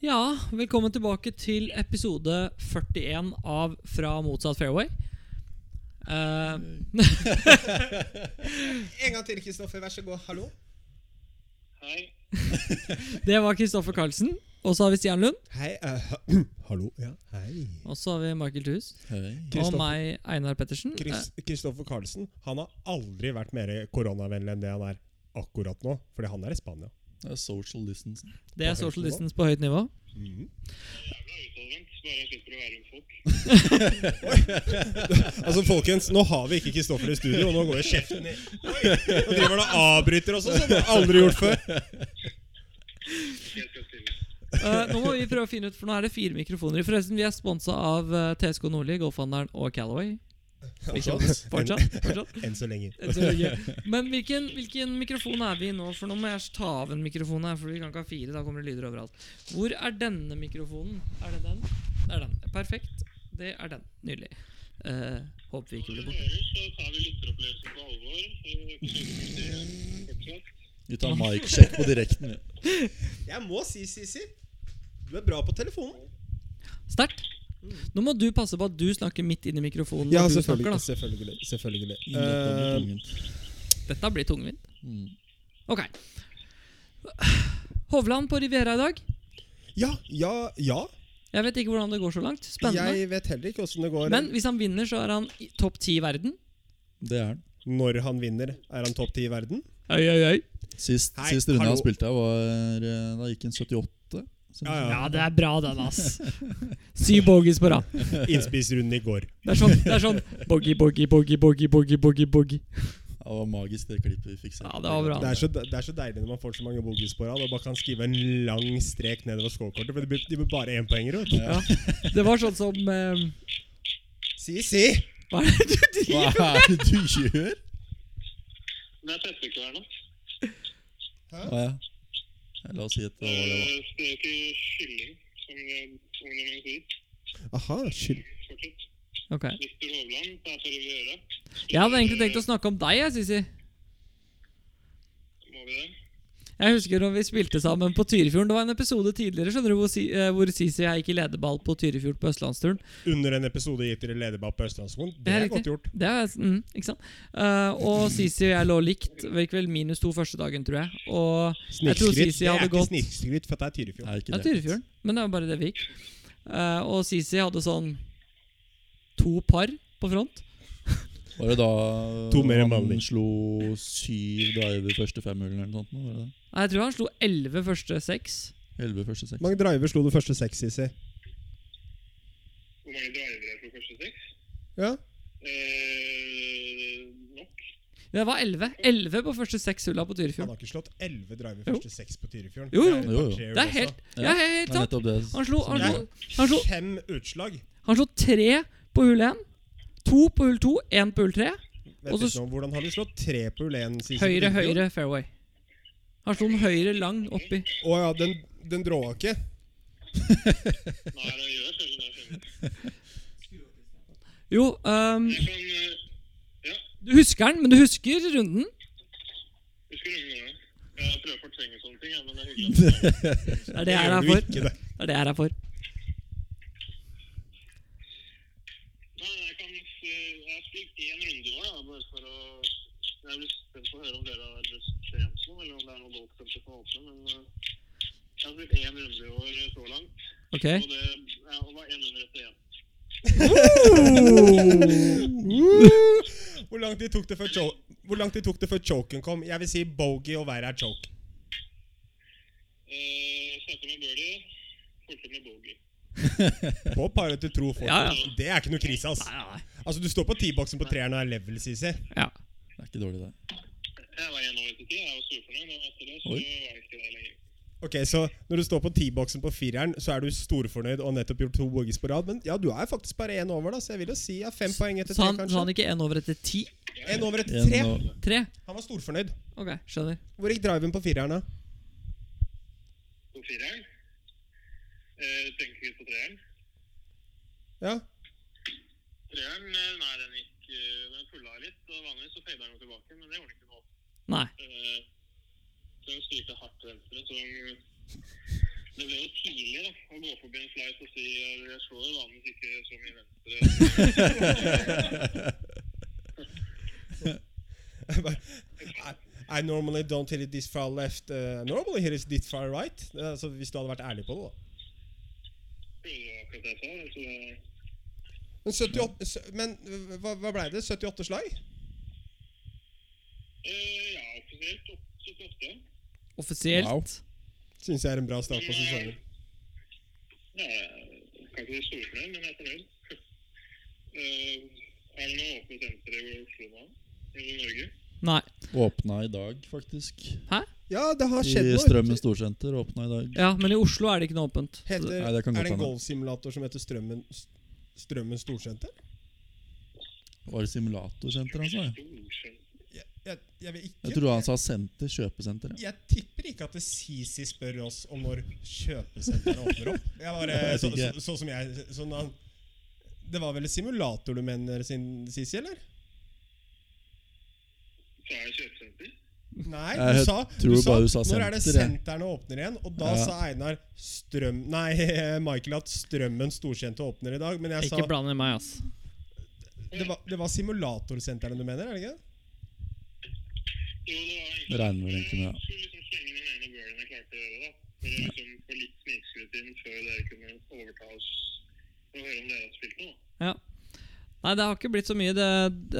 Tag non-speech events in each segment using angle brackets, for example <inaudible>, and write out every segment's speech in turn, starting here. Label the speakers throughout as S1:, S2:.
S1: Ja, velkommen tilbake til episode 41 av Fra motsatt fairway. Eh, <laughs>
S2: En gang til, Kristoffer. Vær så god. Hallo.
S3: Hei.
S1: det var Kristoffer Karlsen. Og så har vi Stian Lund.
S2: Hei. eh, <clears throat> Hallo. Ja, hei.
S1: Og så har vi Michael Thues. Og
S2: Kristoffer-
S1: meg, Einar Pettersen. Eh,
S2: Kristoffer Carlsen han har aldri vært mer koronavennlig enn det han er akkurat nå. Fordi han er i Spania.
S4: Det er social distancing.
S1: Det er
S2: på høyt
S1: social
S2: nivå.
S1: distance på høyt nivå.
S3: Jævla utadvendt. Bare jeg slipper å være med
S4: <laughs>
S3: folk.
S2: Altså, folkens, Nå har vi ikke Kristoffer i studio, og nå går jo kjeften i Oi, Nå driver han og avbryter oss også, som han aldri gjort før.
S3: Jeg skal stille.
S1: Eh, nå må vi prøve å finne ut, for nå er det fire mikrofoner. Forresten, vi er sponsa av eh, TSK Nordli, Golfhandelen og Calaway. Fortsatt. Fortsatt. fortsatt.
S2: Enn så lenge.
S1: Jeg tror ikke.
S2: <laughs>
S1: Men hvilken, hvilken mikrofon er vi i nå? For nå må jeg ta av en mikrofon her, for vi kan ikke ha fire. Da kommer det lyder overalt. Hvor er denne mikrofonen? Er det den? Det er den. Perfekt. Det er den. Nydelig. Eh, håper vi ikke blir
S3: Når du
S1: borte.
S3: hører, så tar vi lytteropplevelsen på alvor. Eh, forsøker å fortsatt.
S4: Vi tar mic-sjekk på
S2: <laughs>
S4: direkten. vi.
S2: Jeg må si, Sisi, du er bra på telefonen.
S1: Sterkt. Nå må du passe på at du snakker midt inn i mikrofonen.
S2: Ja,
S1: når du snakker,
S2: selvfølgelig. selvfølgelig, selvfølgelig. Eh,
S4: Nettopp med tungen.
S1: da. Dette blir tungvint.
S4: Mm.
S1: Ok. Hovland på Riviera i dag.
S2: ja, ja, ja.
S1: Jeg vet ikke hvordan det går så langt. Spennende.
S2: Jeg vet heller ikke åssen det går.
S1: Men hvis han vinner, så er han i topp ti i verden.
S4: Det er den.
S2: Når han vinner, er han topp ti i verden?
S1: Oi, oi, oi.
S4: Sist,
S2: Hei,
S4: sist runde
S2: hallo.
S4: han spilte her, var eh, Da gikk han 78. Så
S2: Ja, ja.
S1: Ja, det er bra, den, ass. Syv bogies på rad.
S2: Innspissrunden i går.
S1: Det er sånn, det er sånn Boggy, boggy, boggy, boggy, boggy, boggy, boggy.
S4: Det var magisk, det klippet vi fikk se.
S1: Ja, det var bra.
S2: Det er, så, det er så deilig når man får så mange bogies på rad og bare kan skrive en lang strek nedover scorekortet. For det blir, de blir bare énpoengere. vet du.
S1: Ja. Det var sånn som eh,
S2: Si, si!
S1: Hva er det du driver
S4: <laughs> Hva er det du gjør?
S3: Det er tettekverna.
S4: Ah, ja. Ja, La oss si at det var det. da.
S3: Eh, Strøk i kylling, som eh, ungdommen sier.
S2: Aha, skyld.
S3: Fortsatt.
S1: Ok.
S3: Victor Hovland, det er for å gjøre.
S1: Jeg hadde egentlig tenkt å snakke om deg, jeg, Sisi.
S3: Må vi det?
S1: Jeg husker når vi spilte sammen på Tyrifjorden. Det var en episode tidligere skjønner du, hvor, si, eh, hvor Sisi og jeg gikk i lederball på Tyrifjord på Østlandsturen.
S2: Under en episode gitt til lederball på Østlandsmoen.
S1: Det
S2: Det
S1: er
S2: er godt gjort.
S1: Det er, mm, ikke sant? Eh, og Sisi og jeg lå likt. Det Gikk vel minus to første dagen, tror jeg. Og Jeg tror
S2: Snikskryt.
S1: Sisi
S2: Det er
S1: hadde
S2: ikke
S1: gått-
S2: snikskryt, for det er Tyrifjord.
S4: Nei, ikke
S1: Ja,
S4: det.
S1: Tyrifjorden. Men det var bare det vi gikk. Eh, og Sisi hadde sånn to par på front.
S4: Var det da
S2: To mer enn
S4: han
S2: vanlig.
S4: slo syv driver første femhulen eller noe sånt? nå, Var det det?
S1: Nei, jeg tror han slo 11 første seks.
S4: Elleve første seks.
S2: Mange driver slo du første seks, Sisi?
S3: Hvor mange drivere er på første seks?
S2: Ja.
S3: Eh, nok.
S1: Det var 11. 11 på første seks hulla på
S2: Han
S1: Tyrifjorden.
S2: har ikke slått elleve driver
S1: Jo.
S2: første seks på Tyrifjorden.
S1: Jo, jo.
S2: Det er
S4: Jo, jo.
S2: et par
S1: Det er
S2: treer
S1: helt, ja, helt, helt
S4: Det er
S1: sant.
S4: nettopp det.
S1: Han slo, han,
S2: Det
S1: slo, han, slo,
S2: også. Fem utslag.
S1: han slo tre på hull 1. To på hull 2, én på hull 3.
S2: Vet
S1: Og så-
S2: ikke om hvordan har du slått tre på hull én, Sisi?
S1: Høyre, høyre fairway. Han slo den høyre lang oppi.
S2: Å ja, den, den dråa ikke.
S3: Nei, det gjør kanskje det. skjønner du.
S1: Jo, øhm,
S3: Jeg kan eh, Ja,
S1: du husker den, men du husker runden?
S3: husker du noe? Jeg prøver å fortrenge sånne ting, jeg, men det er hyggelig. at-
S1: Det er det jeg er her
S2: gjør
S1: for.
S2: du ikke, det.
S1: Det er det jeg er her for.
S3: Nei, jeg kan s- Jeg har spilt én runde i år, da, bare for å Jeg blir spent på å høre om dere har lyst til noe, eller om det er noe golfklubb som får åpne, men eh, jeg har spilt én runde i år så langt,
S1: Ok.
S3: og det ja, og var én under etter én.
S2: Hvor lang tid tok det før, cho hvor lang tid tok det før choken kom? Jeg vil si bogey og verre er choke.
S3: Eh, Starta med birdie, fulgte med bogey.
S2: På paret til tro folk.
S1: Ja, ja.
S2: Det er ikke noe krise, ass.
S1: Nei, nei,
S2: Altså, du står på T-boksen på treeren og er level, Sisi.
S1: Ja.
S4: Det er ikke dårlig, det.
S3: Jeg var én over etter ti, jeg var storfornøyd, og etter det så
S4: Oi.
S3: var jeg ikke der lenger.
S2: Ok, så når du står på T-boksen på fireren, så er du storfornøyd og har nettopp gjort to bogies på rad. Men ja, du er faktisk bare én over, da, så jeg vil jo si ja, fem poeng etter
S1: Så
S2: tre,
S1: han, så han
S2: kanskje.
S1: ikke én over etter ti?
S2: Én over etter
S4: En eh,
S2: tre.
S4: og-
S1: Tre?
S2: Han var storfornøyd.
S1: Ok, skjønner.
S2: Hvor gikk driven på fireren, da?
S3: På fireren. Eh, tenker vi på treeren.
S2: Ja. <laughs>
S3: Treeren, eh, nei, den gikk eh, Den fulla litt, og vanligvis så fader den jo tilbake, men det gjorde den ikke nå.
S1: Nei.
S3: Eh, så hun styrte hardt venstre, så hun Det ble jo tidlig da, å gå forbi en flight og si eh, jeg slår jo vanligvis ikke så mye venstre.
S2: I, I normally don't hit it this far left. Uh, normally hit it this far right. Det er Altså, hvis du hadde vært ærlig på det, da.
S3: Det var akkurat det jeg sa. altså, det-
S2: Men, 78, sø- men øh, hva, hva ble det? 78 slag?
S3: eh, ja, offisielt opp- 78.
S1: Offisielt.
S4: Wow.
S2: Syns jeg er en bra start på sesongen.
S3: Ja, Eh, jeg kan ikke bli storfornøyd, men jeg er fornøyd. Eh, er det noen åpne sentre i Oslo nå? Eller i Norge?
S1: Nei.
S4: Åpna i dag, faktisk.
S1: Hæ?
S2: Ja, det har skjedd
S4: I
S2: noe.
S4: Strømmen storsenter åpna i dag.
S1: Ja, men i Oslo er det ikke noe åpent. Så
S2: Heter,
S1: det-
S4: Nei, det kan
S2: er
S4: godt
S2: det en
S4: hende.
S2: golfsimulator som heter Strømmen, Strømmen Storsenter?
S4: Var det simulatorsenter han sa? ja?
S3: Storsenter.
S2: Jeg, jeg, jeg vil ikke
S4: Jeg trodde han sa senter, kjøpesenter. ja.
S2: Jeg tipper ikke at det Sisi spør oss om når kjøpesenteret åpner opp. Jeg bare,
S4: <laughs> Jeg
S2: så,
S4: vet
S2: så,
S4: ikke.
S2: så som jeg sånn da, Det var vel simulator du mener, sin- Sisi, eller?
S3: Så er det kjøpesenter.
S2: Nei, du
S4: Jeg
S2: sa,
S4: tror
S2: du sa,
S4: bare du sa
S2: Når er det
S4: senter, jeg."
S2: senterne åpner igjen? Og da
S4: Ja.
S2: sa Einar Strøm... <laughs> Nei, Michael at Strømmen Storsenter åpner i dag. Men jeg sa
S1: Ikke bland i meg, ass.
S2: det var, det var simulatorsentrene du mener, er det ikke?
S3: Jo, det var
S4: Det regner vel egentlig med, ja.
S3: Jeg skulle liksom slenge den ene birden jeg klarte å gjøre, da. For å liksom få litt snikskritt inn før dere kunne overta oss og høre om dere hadde spilt noe.
S1: Ja. Nei, det har ikke blitt så mye. Det,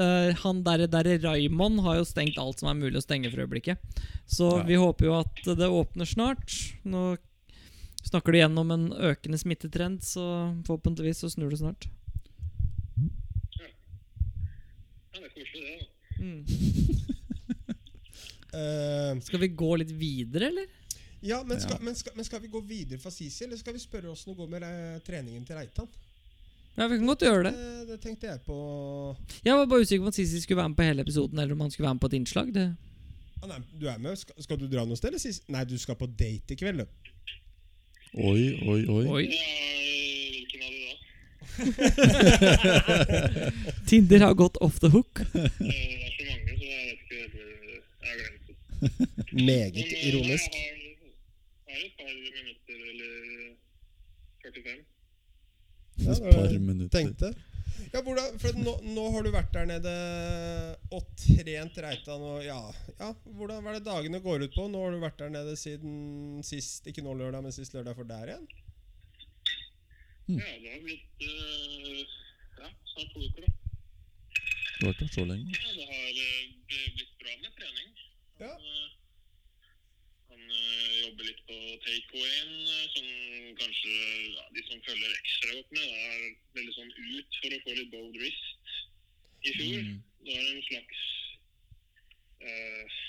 S1: eh, han derre der Raymond har jo stengt alt som er mulig å stenge for øyeblikket. Så
S4: Ja.
S1: vi håper jo at det åpner snart. Nå snakker du igjennom en økende smittetrend, så forhåpentligvis så snur det snart.
S3: Ja, det er koselig, det. da.
S2: Eh,
S1: Skal vi gå litt videre, eller?
S2: ja, men skal,
S4: Ja.
S2: Men, skal, men skal vi gå videre fra Sisi, eller skal vi spørre åssen det går med eh, treningen til Reitan?
S1: Ja, vi kan godt gjøre det.
S2: Eh, det tenkte jeg på
S1: Jeg var bare usikker på om Sisi skulle være med på hele episoden, eller om han skulle være med på et innslag. Det.
S2: Ah, nei, du er med. Skal, skal du dra noe sted? Eller? Sis? Nei, du skal på date i kveld. du.
S4: Oi, oi, oi.
S1: Oi.
S3: Ja, eh, hvilken av de da?
S1: Tinder har gått off the hook.
S3: Eh, Det er så mange, så jeg vet ikke helt, eh, Jeg har glemt det.
S2: Meget
S3: Men, eh,
S2: ironisk.
S3: Jeg har, jeg har et par minutter, eller 45.
S2: Ja,
S4: Et
S2: det var
S4: par
S2: det jeg
S4: minutter.
S2: Tenkte. Ja, hvordan, for nå, nå har du vært der nede og trent Reitan og ja, ja Hvordan var det dagene går ut på? Nå har du vært der nede siden sist Ikke nå lørdag, men sist lørdag for der igjen?
S3: Ja, det har blitt eh, ja, snart to uker, da.
S4: Det var ikke så
S2: <laughs>
S4: lenge.
S3: Ja, det har eh, bl- blitt bra med trening.
S2: Ja.
S3: Eh, Han eh, jobber litt på takeawayen, eh, som kanskje ja, de som følger ekstra godt med, er veldig sånn ut for å få litt bold wrist i fjor.
S4: Mm.
S3: Det var en slags eh,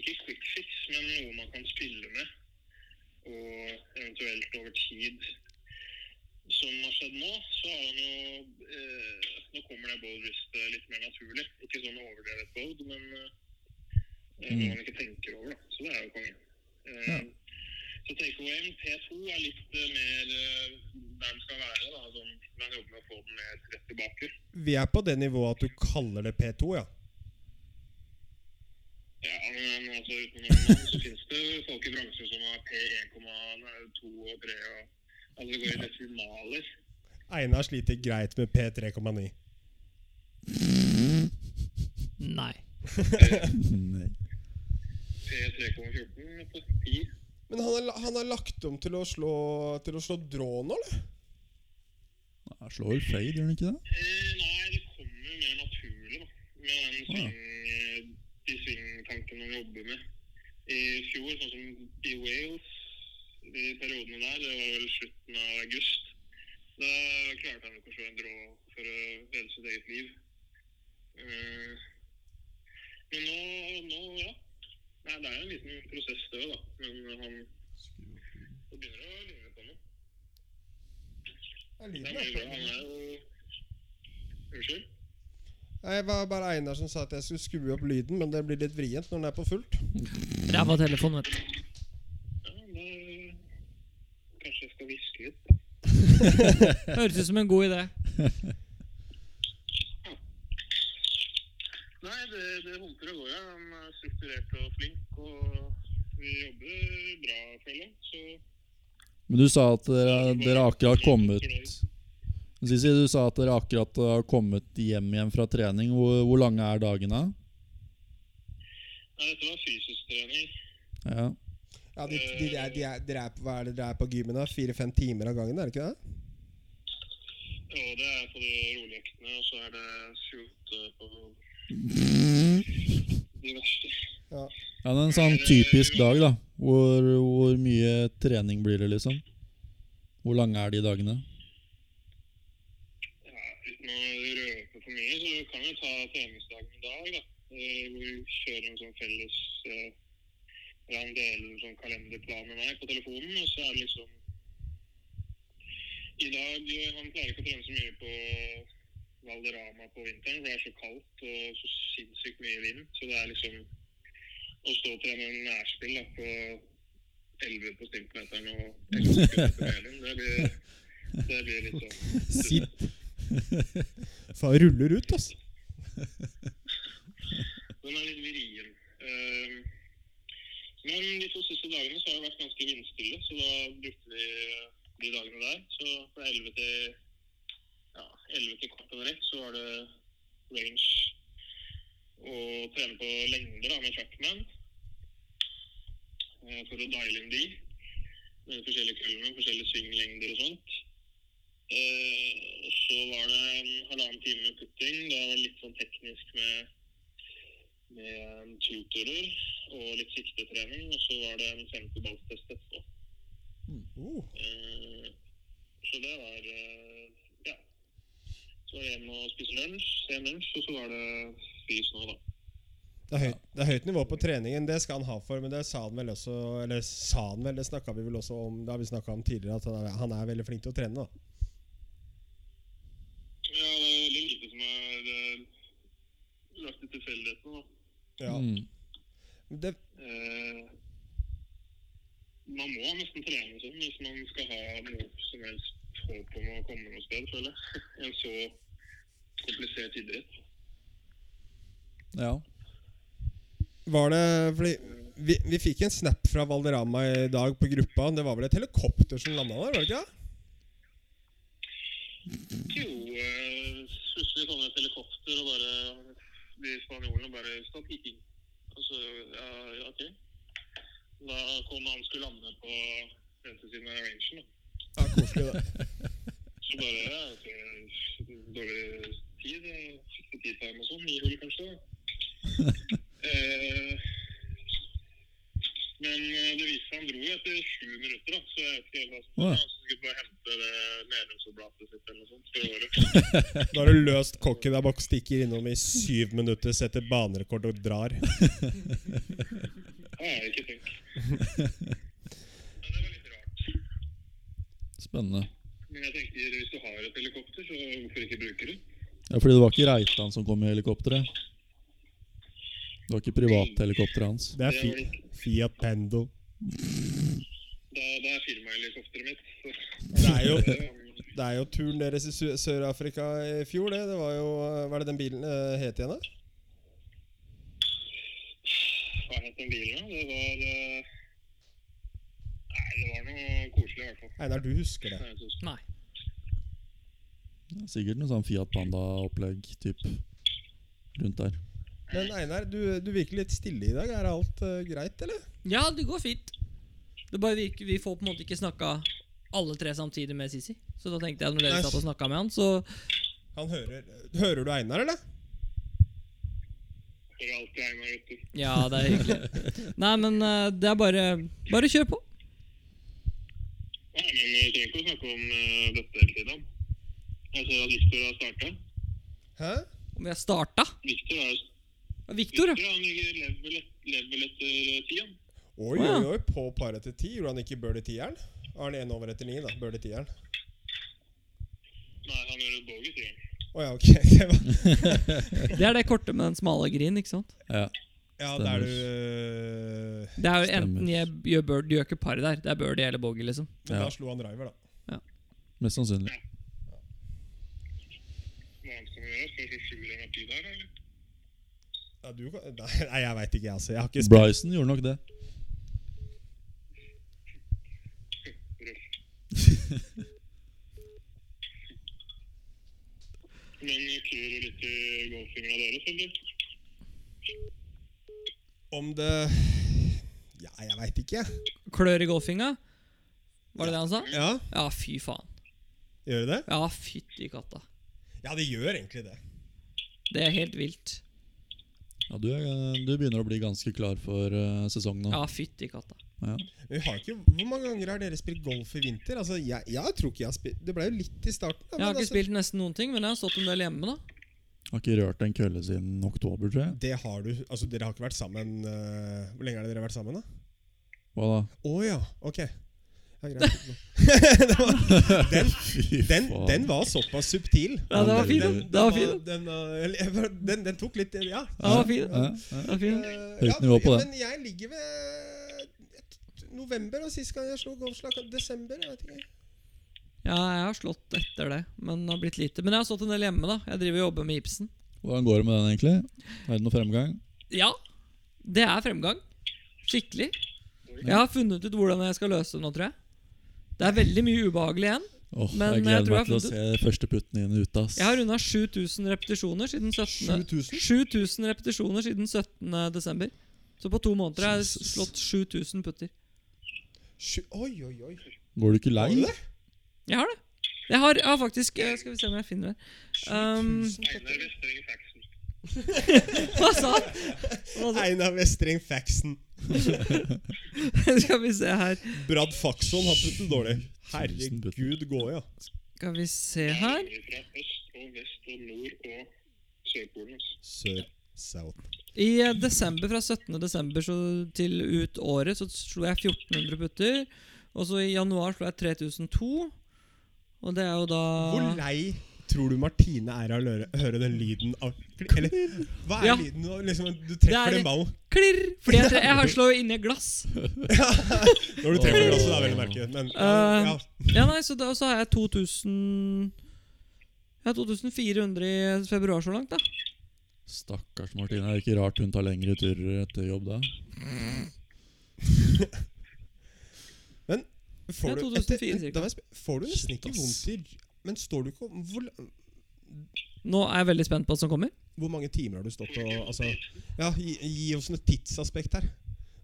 S3: ikke quick fix, men noe man kan spille med. Og eventuelt over tid. Som har skjedd nå, så har han jo eh, Nå kommer det bold wrist eh, litt mer naturlig. Ikke sånn overdrevet bold, men eh, eh, noe
S4: Mm.
S3: man ikke tenker over, da. Så det er jo konge. Eh,
S4: Ja.
S3: Så takeawayen P2 er litt eh, mer eh, der den skal være. da, sånn, Man jobber med å få den mer rett tilbake.
S2: Vi er på det nivået at du kaller det P2, ja.
S3: Ja, men altså utenom navn så finnes det folk i bransjen som har P1,2 og 3 og Altså det går i desimaler.
S2: Einar sliter greit med P3,9.
S1: Nei.
S4: Nei.
S3: P3,14 på 10.
S2: Men han har, la- han har lagt om til å slå, til å slå drå nå, eller?
S4: Han slår vel fade, gjør han ikke det?
S3: Eh, nei, det kommer jo mer naturlig, da. Med den
S4: Ja.
S3: sving, eh, de svingtankene man jobber med. I fjor, sånn som i Wales, de periodene der, det var vel slutten av august, da klarte han jo ikke å slå en drå for å redde sitt eget liv. Eh, men nå, nå, ja. Nei, det er jo en liten prosess, det òg, da. Men han det begynner å ligne på noe.
S2: Ja,
S3: Det
S2: lyden
S3: er
S2: er
S3: mye bra.
S2: på.
S3: Han er jo Unnskyld?
S2: Nei, Det var bare Einar som sa at jeg skulle skru opp lyden, men det blir litt vrient når den er på fullt.
S1: Ræva telefon, vet du.
S3: Ja, da Kanskje jeg skal hviske litt, da.
S1: Høres ut som en god idé.
S3: Nei, det, det humper og går. ja. Han er strukturert og flink, og vi jobber bra, føler jeg. Så
S4: Men du sa at dere, dere akkurat kommet Sisi, du sa at dere akkurat har kommet hjem igjen fra trening. Hvor, hvor lange er dagene?
S3: Nei, dette var fysisk trening.
S4: Ja.
S2: Ja, de, de, de, er, de, er, dere er, på- hva er det dere er på gymmen da? Fire-fem timer av gangen, er det ikke det?
S3: Ja, det er på de rolige øktene, og så er det skjult eh, på de verste.
S2: Ja.
S4: ja, det er en sånn typisk dag, da. Hvor, hvor mye trening blir det, liksom? Hvor lange er de dagene? <laughs>
S3: Ja, uten å røpe for mye, så kan vi ta treningsdagen i dag, da. Eh, Hvor vi kjører en sånn felles eh, Jeg deler en sånn kalenderplan med meg på telefonen, og så er det liksom I dag eh, Han pleier ikke å trene så mye på Valderama på vinteren, for det er så kaldt og så sinnssykt mye vind. Så det er liksom å stå og trene nærspill da, på 11 på stimpmeteren og 11 sekunder på mailen, det blir, det blir litt sånn
S2: Sitt. Faen, ruller ut, altså.
S3: Den er litt vrien. Eh, Men de to siste dagene så har det vært ganske vindstille, så da brukte vi eh, de dagene der. Så fra 11 til ja, 11 til kvart over ett så var det range og trene på lengder da, med trackman eh, for å diale inn de. Med forskjellige kullene, forskjellige svinglengder og sånt. Eh, og så var det en halvannen time med putting. Da var det litt sånn teknisk med med tutorer og litt siktetrening. Og så var det en 50-ballstest etterpå.
S2: Oh.
S3: Eh, Så det var eh, Ja. Så var det hjem og spise lunsj, se lunsj, og så var det spis nå, da.
S2: Det er, høyt, det er høyt nivå på treningen, det skal han ha for, men det sa han vel også Eller sa han vel, det snakka vi vel også om Det har vi snakket om tidligere, at han er, han er veldig flink til å trene. da
S3: Ja, det er veldig lite som er eh, lagt til tilfeldighetene, da.
S4: Mm.
S2: Men Det,
S3: Eh, man må nesten trene sånn hvis man skal ha noe som helst håp om å komme noe sted, føler jeg. <laughs> En så komplisert idrett.
S4: Ja.
S2: var det Fordi vi, vi fikk en snap fra Valderama i dag på gruppa. Det var vel et helikopter som landa der? var det ikke det?
S3: Jo, eh, plutselig kom det et helikopter og bare De spanjolene bare stakk ikke inn. Og så ja, ja, OK. Da kom han skulle lande på venstresiden av rangen, da.
S2: Ja, koselig <laughs> det
S3: Så bare ja, ok, dårlig tid. eh, Siste tid time og sånn. Ni hull, kanskje. eh, men eh, det viste seg han dro jo etter sju minutter, da. Så jeg vet ikke helt hva som
S4: Åh.
S3: Han skulle bare hente det medlemsoblatet sitt eller noe sånt for året.
S2: Da har du løst kokken der bak, stikker innom i syv minutter, setter banerekord og drar.
S3: Det har jeg ikke tenkt. Ja, det var litt rart.
S4: Spennende.
S3: Men jeg tenker hvis du har et helikopter, så hvorfor ikke bruke det?
S4: Ja, fordi det var ikke Reitan som kom i helikopteret? Det var ikke privathelikopteret hans?
S2: Det er fi, Fiat Pendel.
S3: Da, da er firmahelikopteret mitt. Så.
S2: Det er jo
S3: Eh,
S2: Det er jo turen deres i Sø- Sør-Afrika i fjor, det. Det var jo Hva er det den bilen eh, het igjen, da?
S3: Hva het den bilen, da? Det var eh, Nei, det var noe koselig, i hvert fall.
S2: Einar, du husker det.
S3: Nei, jeg synes-
S1: Nei.
S4: Det er Sikkert noe sånn Fiat Panda-opplegg typ rundt der.
S2: Men Einar, du, du virker litt stille i dag. Er alt eh, greit, eller?
S1: Ja, det går fint. Det bare vi, vi får på en måte ikke snakka alle tre samtidig med Sisi. Så da tenkte jeg at når dere
S2: Nei.
S1: satt og snakka med han, så
S2: Han hører Hører du Einar, eller?
S3: Det er alltid Einar, vet du.
S1: Ja, det er hyggelig. Nei, men eh, det er bare Bare kjør på.
S3: Nei, men vi trenger ikke å snakke om eh, dette hele tiden. Jeg ser at Victor har starta.
S2: Hæ?
S1: Om vi har starta?
S3: Victor, er,
S1: Victor,
S3: Victor
S1: ja.
S3: han ligger level, et- level etter eh, ti, han.
S2: Oi,
S1: Å, ja.
S2: oi, oi. På paret til ti. Gjorde han ikke Birdie tieren? Har han én over etter ni, da? Birdie tieren.
S3: Nei, han gjør et bogey, sier han.
S2: Å ja, ok. <laughs> Det var,
S1: Det er det korte med den smale grinen, ikke sant?
S4: Ja.
S2: ja, der du eh,
S1: Det er jo
S4: Stemmer.
S1: enten jeg gjør bird, du gjør ikke par der. Det er birdie eller bogey, liksom.
S2: Men da
S4: Ja.
S2: slo han driver, da.
S4: Mest sannsynlig.
S3: Hva han skal gjøre? Skal jeg slå sjuer eller ti der, eller?
S2: Ja, du, kan- nei, jeg veit ikke, jeg, altså. Jeg har ikke spilt
S4: Bryson gjorde nok det.
S3: Røff. Men klør det litt i golffingra deres, eller?
S2: Om det Ja, jeg veit ikke.
S1: Klør i golfinga? Var det det han sa?
S2: Ja,
S1: Ja, fy faen.
S2: Gjør det det?
S1: Ja, fytti katta.
S2: Ja, det gjør egentlig det.
S1: Det er helt vilt.
S4: Ja, du, er, du begynner å bli ganske klar for eh, sesongen nå.
S1: Ja, fytti katta.
S4: Ja.
S2: Men vi har ikke, hvor mange ganger har dere spilt golf i vinter? Altså, Jeg, jeg tror ikke jeg har spilt Det ble jo litt i starten. da,
S1: Jeg har
S2: men
S1: ikke
S2: altså,
S1: spilt nesten noen ting, men jeg har stått en del hjemme, da.
S4: Har ikke rørt en kølle siden oktober, tror jeg.
S2: Det har du Altså, dere har ikke vært sammen eh, Hvor lenge har dere vært sammen, da?
S4: Hva da?
S2: Å ja, ok. Ja,
S1: <laughs>
S2: greit. Det var- den,
S4: <laughs> Fy
S2: den,
S4: faen.
S2: den var såpass subtil.
S1: Ja, det var
S4: fint,
S2: Den,
S1: det var
S2: den,
S1: fint.
S2: den, var- eller, den, den tok litt
S1: Ja,
S2: Ja.
S1: det var fin.
S4: Ja, ja.
S1: Det var fin.
S2: Eh,
S4: Høyt nivå på
S2: ja,
S4: det.
S2: Men jeg ligger ved et- november, og sist gang jeg slo golfslag desember. Jeg vet ikke.
S1: Ja, jeg har slått etter det, men det har blitt lite. Men jeg har stått en del hjemme, da. Jeg driver og jobber med gipsen.
S4: Hvordan går det med den, egentlig? Er det noe fremgang?
S1: Ja, det er fremgang. Skikkelig. Jeg har funnet ut hvordan jeg skal løse det nå, tror jeg. Det er veldig mye ubehagelig igjen.
S4: Åh,
S1: Men
S4: jeg
S1: jeg
S4: gleder
S1: tror
S4: meg
S1: jeg
S4: til å
S1: har
S4: se første putten inn og ut, ass.
S1: Jeg har runda 7000 repetisjoner siden 17.
S2: 7000?
S1: 7000 repetisjoner siden 17. desember. Så på to måneder har jeg
S4: Jesus.
S1: slått 7000 putter.
S2: Sju- Oi, oi, oi.
S4: Går du ikke lei?
S2: Var det det?
S1: Jeg har det. Jeg har, jeg har faktisk eh, Skal vi se om jeg finner det.
S2: <laughs>
S1: Um,
S3: Einar Vestreng Faxen.
S1: hva sa han? Hva sa han?
S2: Einar Westring Faxen.
S1: <laughs> Skal vi se her.
S2: Brad Faxon har puttet den dårlig.
S4: Tusen putt.
S2: Herregud, gå i, ja.
S1: Skal vi se her.
S3: Fra øst og vest og nord og Sørpolen. altså.
S2: Sør. South.
S1: I eh, desember, fra 17. desember så til ut året, så slo jeg 1400 putter. Og så i januar slo jeg 3002. Og det er jo da
S2: Hvor lei tror du Martine er av å høre, høre den lyden av Eller hva er
S1: Ja.
S2: lyden når liksom, du
S1: Det er-
S2: treffer den ballen?
S1: Klirr! Fordi jeg, jeg har slår jo inni glass.
S2: Når du treffer den også, da, vel å merke. Men
S1: Eh,
S2: ja.
S1: Ja, nei, så, da, så har jeg 2000 Jeg har 2400 i februar så langt, da.
S4: Stakkars Martine. Er det ikke rart hun tar lengre turer etter jobb da?
S2: Men
S1: Ja,
S2: får du,
S1: 2004
S2: etter, men,
S1: cirka.
S2: da må jeg sp- får du nesten
S4: Shit,
S2: ikke
S4: ass.
S2: vondt i ry- Men står du ikke hvor,
S1: Nå er jeg veldig spent på hva som kommer.
S2: hvor mange timer har du stått og altså, ja, gi, gi oss noe tidsaspekt her.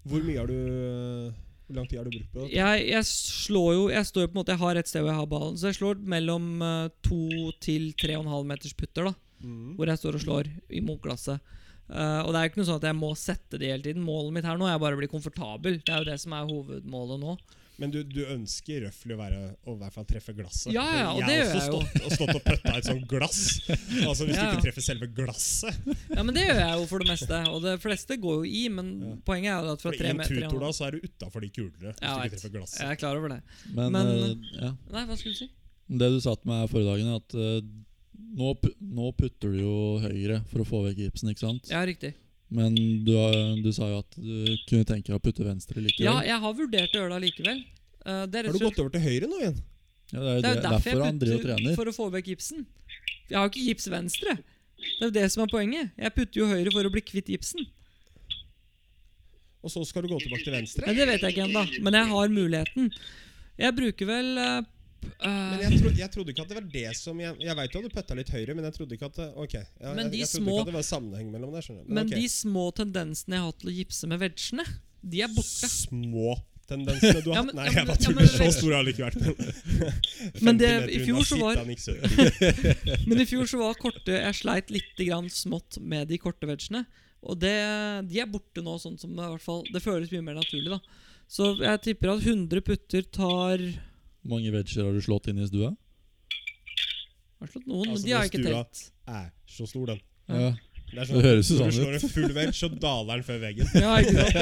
S2: Hvor mye har du øh, Hvor lang tid har du brukt på det?
S1: Jeg, jeg slår jo Jeg står jo på en måte Jeg har et sted hvor jeg har ballen, så jeg slår mellom eh, to til tre og en halv meters putter, da.
S2: Mm.
S1: hvor jeg står og slår i motglasset. Eh, og det er jo ikke noe sånn at jeg må sette det hele tiden. Målet mitt her nå er bare å bli komfortabel. Det er jo det som er hovedmålet nå.
S2: Men du, du ønsker røftlig å være Å i hvert fall treffe glasset.
S1: Ja, ja,
S2: For
S1: og det gjør
S2: har
S1: jeg
S2: også
S1: jo.
S2: stått og, stått og putta et sånt glass. Altså Hvis
S1: Ja,
S2: du
S1: ja.
S2: ikke treffer selve glasset
S1: Ja, men det gjør jeg jo for det meste. Og det fleste går jo i, men poenget er jo at fra
S2: For I
S1: tre
S2: en
S1: meter
S2: tutor, da, altså. så er du utafor de kulene. Hvis
S1: Ja, jeg
S2: du ikke
S1: vet.
S2: treffer glasset.
S1: Jeg er klar over det.
S4: Men,
S1: Men-
S4: eh, ja.
S1: Nei, hva skulle du si?
S4: det du sa til meg forrige dagen, er at eh, nå, pu- nå putter du jo høyre for å få vekk gipsen, ikke sant?
S1: Ja, riktig.
S4: Men du, har- du sa jo at du kunne tenke deg å putte venstre likevel.
S1: Ja, jeg har vurdert å gjøre det allikevel. Eh, det, er
S2: Har
S1: rett
S2: du
S1: og slett-
S2: gått over til høyre nå igjen?
S4: Ja, det er jo
S1: det er jo
S4: det- derfor, han driver og
S1: jeg putter
S4: trener.
S1: for å få vekk gipsen. Jeg har jo ikke gips venstre. Det er jo det som er poenget. Jeg putter jo høyre for å bli kvitt gipsen.
S2: Og så skal du gå tilbake til venstre?
S1: Men Det vet jeg ikke ennå, men jeg har muligheten. Jeg bruker vel eh, p- eh,
S2: Men jeg, tro, jeg trodde ikke at det var det som Jeg, jeg veit jo at du putta litt høyre, men jeg trodde ikke at det, Ok, jeg, jeg,
S1: Men de
S2: jeg trodde
S1: små-
S2: ikke at det var sammenheng mellom det. skjønner du.
S1: Men
S2: ok.
S1: de små tendensene jeg har til å gipse med vegene, de er borte.
S2: små tendensene du
S1: Ja,
S2: har hatt
S1: men-
S2: Nei,
S1: ja,
S2: jeg
S1: men-
S2: var
S1: ja,
S2: tuller.
S1: men-
S2: Så stor har den ikke vært.
S1: Men
S2: 50
S1: det,
S2: meter
S1: i
S2: unna
S1: fjor så var
S2: sitter han ikke søker.
S1: Men i fjor så var korte Jeg sleit litt grann smått med de korte vegene. Og det, de er borte nå, sånn som det, i hvert fall, det føles mye mer naturlig. da Så jeg tipper at 100 putter tar Har
S4: Hvor mange vegger har du slått inn i stua?
S1: slått noen, men
S2: Altså,
S1: de har jeg
S2: den
S1: ikke
S2: stua-
S1: telt.
S2: Er så stor, den.
S4: Ja.
S2: Det, er
S4: Det høres jo
S2: når
S4: sånn
S2: Du slår en full vegg, så daler den før veggen.
S1: Ja, ikke sant?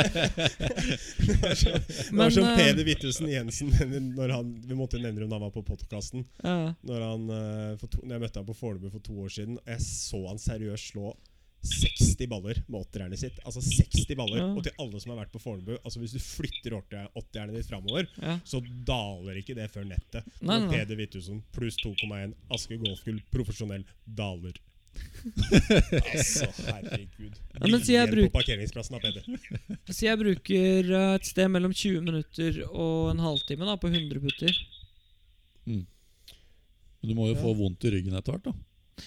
S2: <laughs> det var som
S1: eh,
S2: Peder Wittusen Jensen <laughs> når han, Vi måtte jo nevne om han var på podkasten.
S1: ja.
S2: Når, han, eh, for to- når jeg møtte han på Fornebu for to år siden, og jeg så han seriøst slå 60 baller med åtterjernet sitt. Altså 60 baller.
S1: Ja.
S2: Og til alle som har vært på Fornebu, altså hvis du flytter åtter- åtterjernet ditt framover,
S1: Ja.
S2: så daler ikke det før nettet.
S1: Nei, nei,
S2: Når
S1: nei.
S2: Peder Wittusen pluss 2,1 Aske Golfgull profesjonell
S1: <laughs>
S2: daler. altså, herregud.
S1: Ja, men sier jeg
S2: Bilen
S1: bruk-
S2: på parkeringsplassen av Peder.
S1: Så jeg bruker eh, et sted mellom 20 minutter og en halvtime da på 100 putter.
S4: Men du må jo
S2: Ja.
S4: få vondt i ryggen etter hvert, da.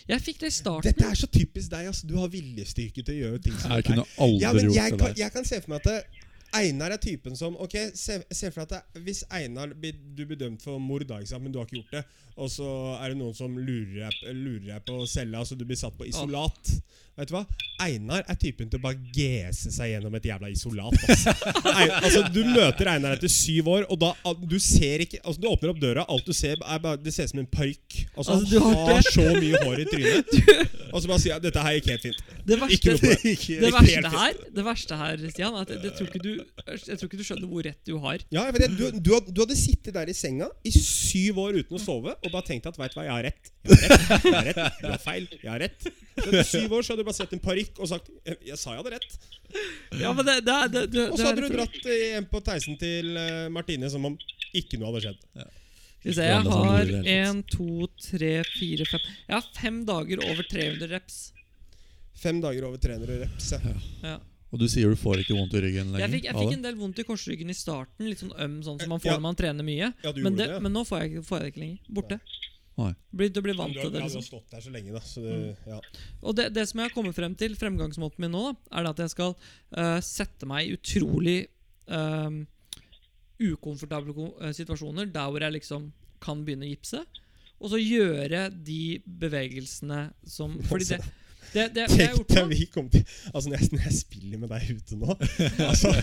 S1: Jeg fikk det i starten.
S2: Dette er så typisk deg. ass. Du har viljestyrke til å gjøre ting som
S4: Jeg
S2: dette her.
S4: kunne aldri
S2: Ja, men jeg
S4: gjort det
S2: kan,
S4: der.
S2: jeg kan se for meg at det, Einar er typen som Ok, se, se for deg at det, hvis Einar blir, du blir dømt for mord, da, ikke sant, men du har ikke gjort det, og så er det noen som lurer deg, lurer deg på cella, så du blir satt på isolat. Vet du hva? Einar er typen til å bare gese seg gjennom et jævla isolat.
S1: <laughs>
S2: Altså. Ei- altså, du møter Einar etter syv år, og da al- du ser ikke altså, Du åpner opp døra, alt du ser, er bare, det ser ut som en parykk. Altså,
S1: Altså, du har
S2: han har
S1: ikke-
S2: så mye hår i
S1: <laughs>
S2: trynet. Og så bare sier jeg dette her gikk helt fint.
S1: Det verste,
S2: Ikke noe på <laughs> det.
S1: det
S2: Ikke helt
S1: verste
S2: fint.
S1: her, det verste her Stian, er at jeg, jeg, tror ikke du, jeg tror ikke du skjønner hvor rett du har.
S2: Ja, jeg vet det. Du, du, had- du hadde sittet der i senga i syv år uten å sove og bare tenkt at veit du hva, jeg har rett. Jeg har rett, jeg har rett, jeg har feil, jeg har rett. Så Etter syv år så hadde du bare sett en parykk og sagt jeg, jeg sa jeg hadde rett.
S1: Ja, men det, det, er- det, det, det
S2: Og så
S1: er
S2: hadde
S1: et
S2: du
S1: problem.
S2: dratt eh, hjem på Theisen til eh, Martine som om ikke noe hadde skjedd.
S1: Skal vi se,
S4: Ja,
S1: jeg
S4: det er sånn
S1: har
S4: det blir i det hele
S1: én, to, tre, fire, fem Jeg har fem dager over 300 reps.
S2: Fem dager over 300 reps. ja.
S1: Ja.
S4: Og du sier du får ikke vondt i ryggen lenger?
S1: Jeg fikk, jeg
S4: av
S1: fikk
S4: det?
S1: en del vondt i korsryggen i starten, litt sånn øm, sånn som man
S2: Ja.
S1: får når man trener mye.
S2: Ja, du
S1: Men,
S2: gjorde
S1: det,
S2: det, ja.
S1: men nå får jeg, ikke- får jeg det ikke lenger. Borte.
S4: Nei.
S1: Blir, du blir
S2: Men
S1: vant
S2: Du,
S1: til
S2: har-
S1: det.
S2: ja, du
S1: liksom Mm.
S2: har stått der så lenge, da. Så det, ja.
S1: Og det, det som jeg har kommet frem til, fremgangsmåten min nå, da, er det at jeg skal eh, sette meg i utrolig ehm, ukomfortable ko- eh, situasjoner der hvor jeg liksom kan begynne å gipse. Og så gjøre de bevegelsene som Fordi det, det, det, det jeg har
S2: Tenk
S1: gjort
S2: deg
S1: nå
S2: vi kom til Altså når jeg, når jeg spiller med deg ute nå <laughs> altså,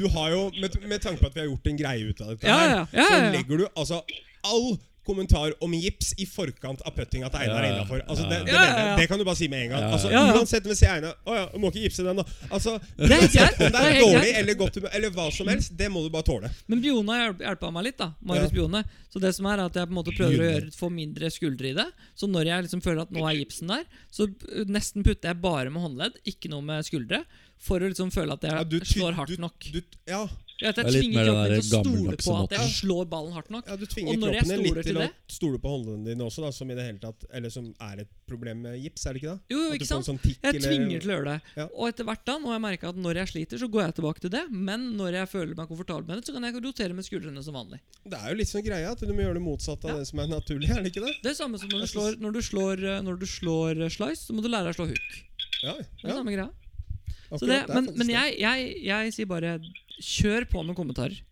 S2: Du har jo Med, med tanke på at vi har gjort en greie ut av dette
S1: Ja,
S2: her,
S1: ja, ja, ja, ja.
S2: så legger du altså all kommentar om gips i forkant av puttinga til Einar
S4: Ja,
S2: er
S4: ja.
S2: innafor. Altså, det, det,
S1: Ja, ja,
S2: mener jeg.
S1: ja.
S2: det kan du bare si med en gang.
S4: Ja, ja.
S2: Altså,
S1: Ja, ja.
S2: Uansett om vi sier Einar Å ja, du må ikke gipse den, da. Altså,
S1: er helt greit. Det
S2: om det
S1: er
S2: er
S1: helt
S2: dårlig
S1: greit.
S2: eller godt humør eller hva som helst, det må du bare tåle.
S1: Men Bione har hjulp- hjulpet meg litt. da Marius
S2: Ja.
S1: Bione Så det som er er at jeg på en måte prøver å
S2: Bione.
S1: gjøre få mindre skuldre i det. Så når jeg liksom føler at nå er gipsen der, så eh, nesten putter jeg bare med håndledd, ikke noe med skuldre. For å liksom føle at jeg
S2: Ja, du ty-
S1: slår hardt
S2: du-
S1: nok.
S2: Du, ja,
S1: Ja, at
S4: Det
S1: jeg
S4: er litt
S1: tvinger
S4: mer den
S1: kroppen til å
S4: der
S1: stole
S4: gammeldagse
S1: på at jeg
S4: måten.
S1: slår ballen hardt nok.
S2: ja, du tvinger
S1: Og når jeg
S2: kroppen din
S1: stoler
S2: litt til
S1: til
S2: å
S1: det-
S2: stole på håndleddene dine også, da, som i det hele tatt Eller som er et problem med gips, er det ikke det?
S1: Jo, jo,
S2: At du
S1: ikke
S2: får en
S1: sant?
S2: sånn tikk
S1: Jeg
S2: eller-
S1: tvinger til å gjøre det.
S2: Ja.
S1: Og etter hvert da, når jeg merker at når jeg sliter, så går jeg tilbake til det. Men når jeg føler meg komfortabel med det, så kan jeg rotere med skuldrene som vanlig.
S2: Det er jo litt sånn greia at du må gjøre det motsatte av
S1: Ja.
S2: det som er naturlig. er det ikke det?
S1: Det er samme som når du
S2: Jeg
S1: slår,
S2: synes-
S1: når du slår, eh, når du slår eh, slice, så må du lære deg å slå hook.
S2: Ja,
S1: Det er
S2: ja,
S1: samme greia.
S2: akkurat,
S1: Så det,
S2: er
S1: men
S2: faktisk
S1: men
S2: det.
S1: jeg, jeg, jeg sier bare kjør på med kommentarer.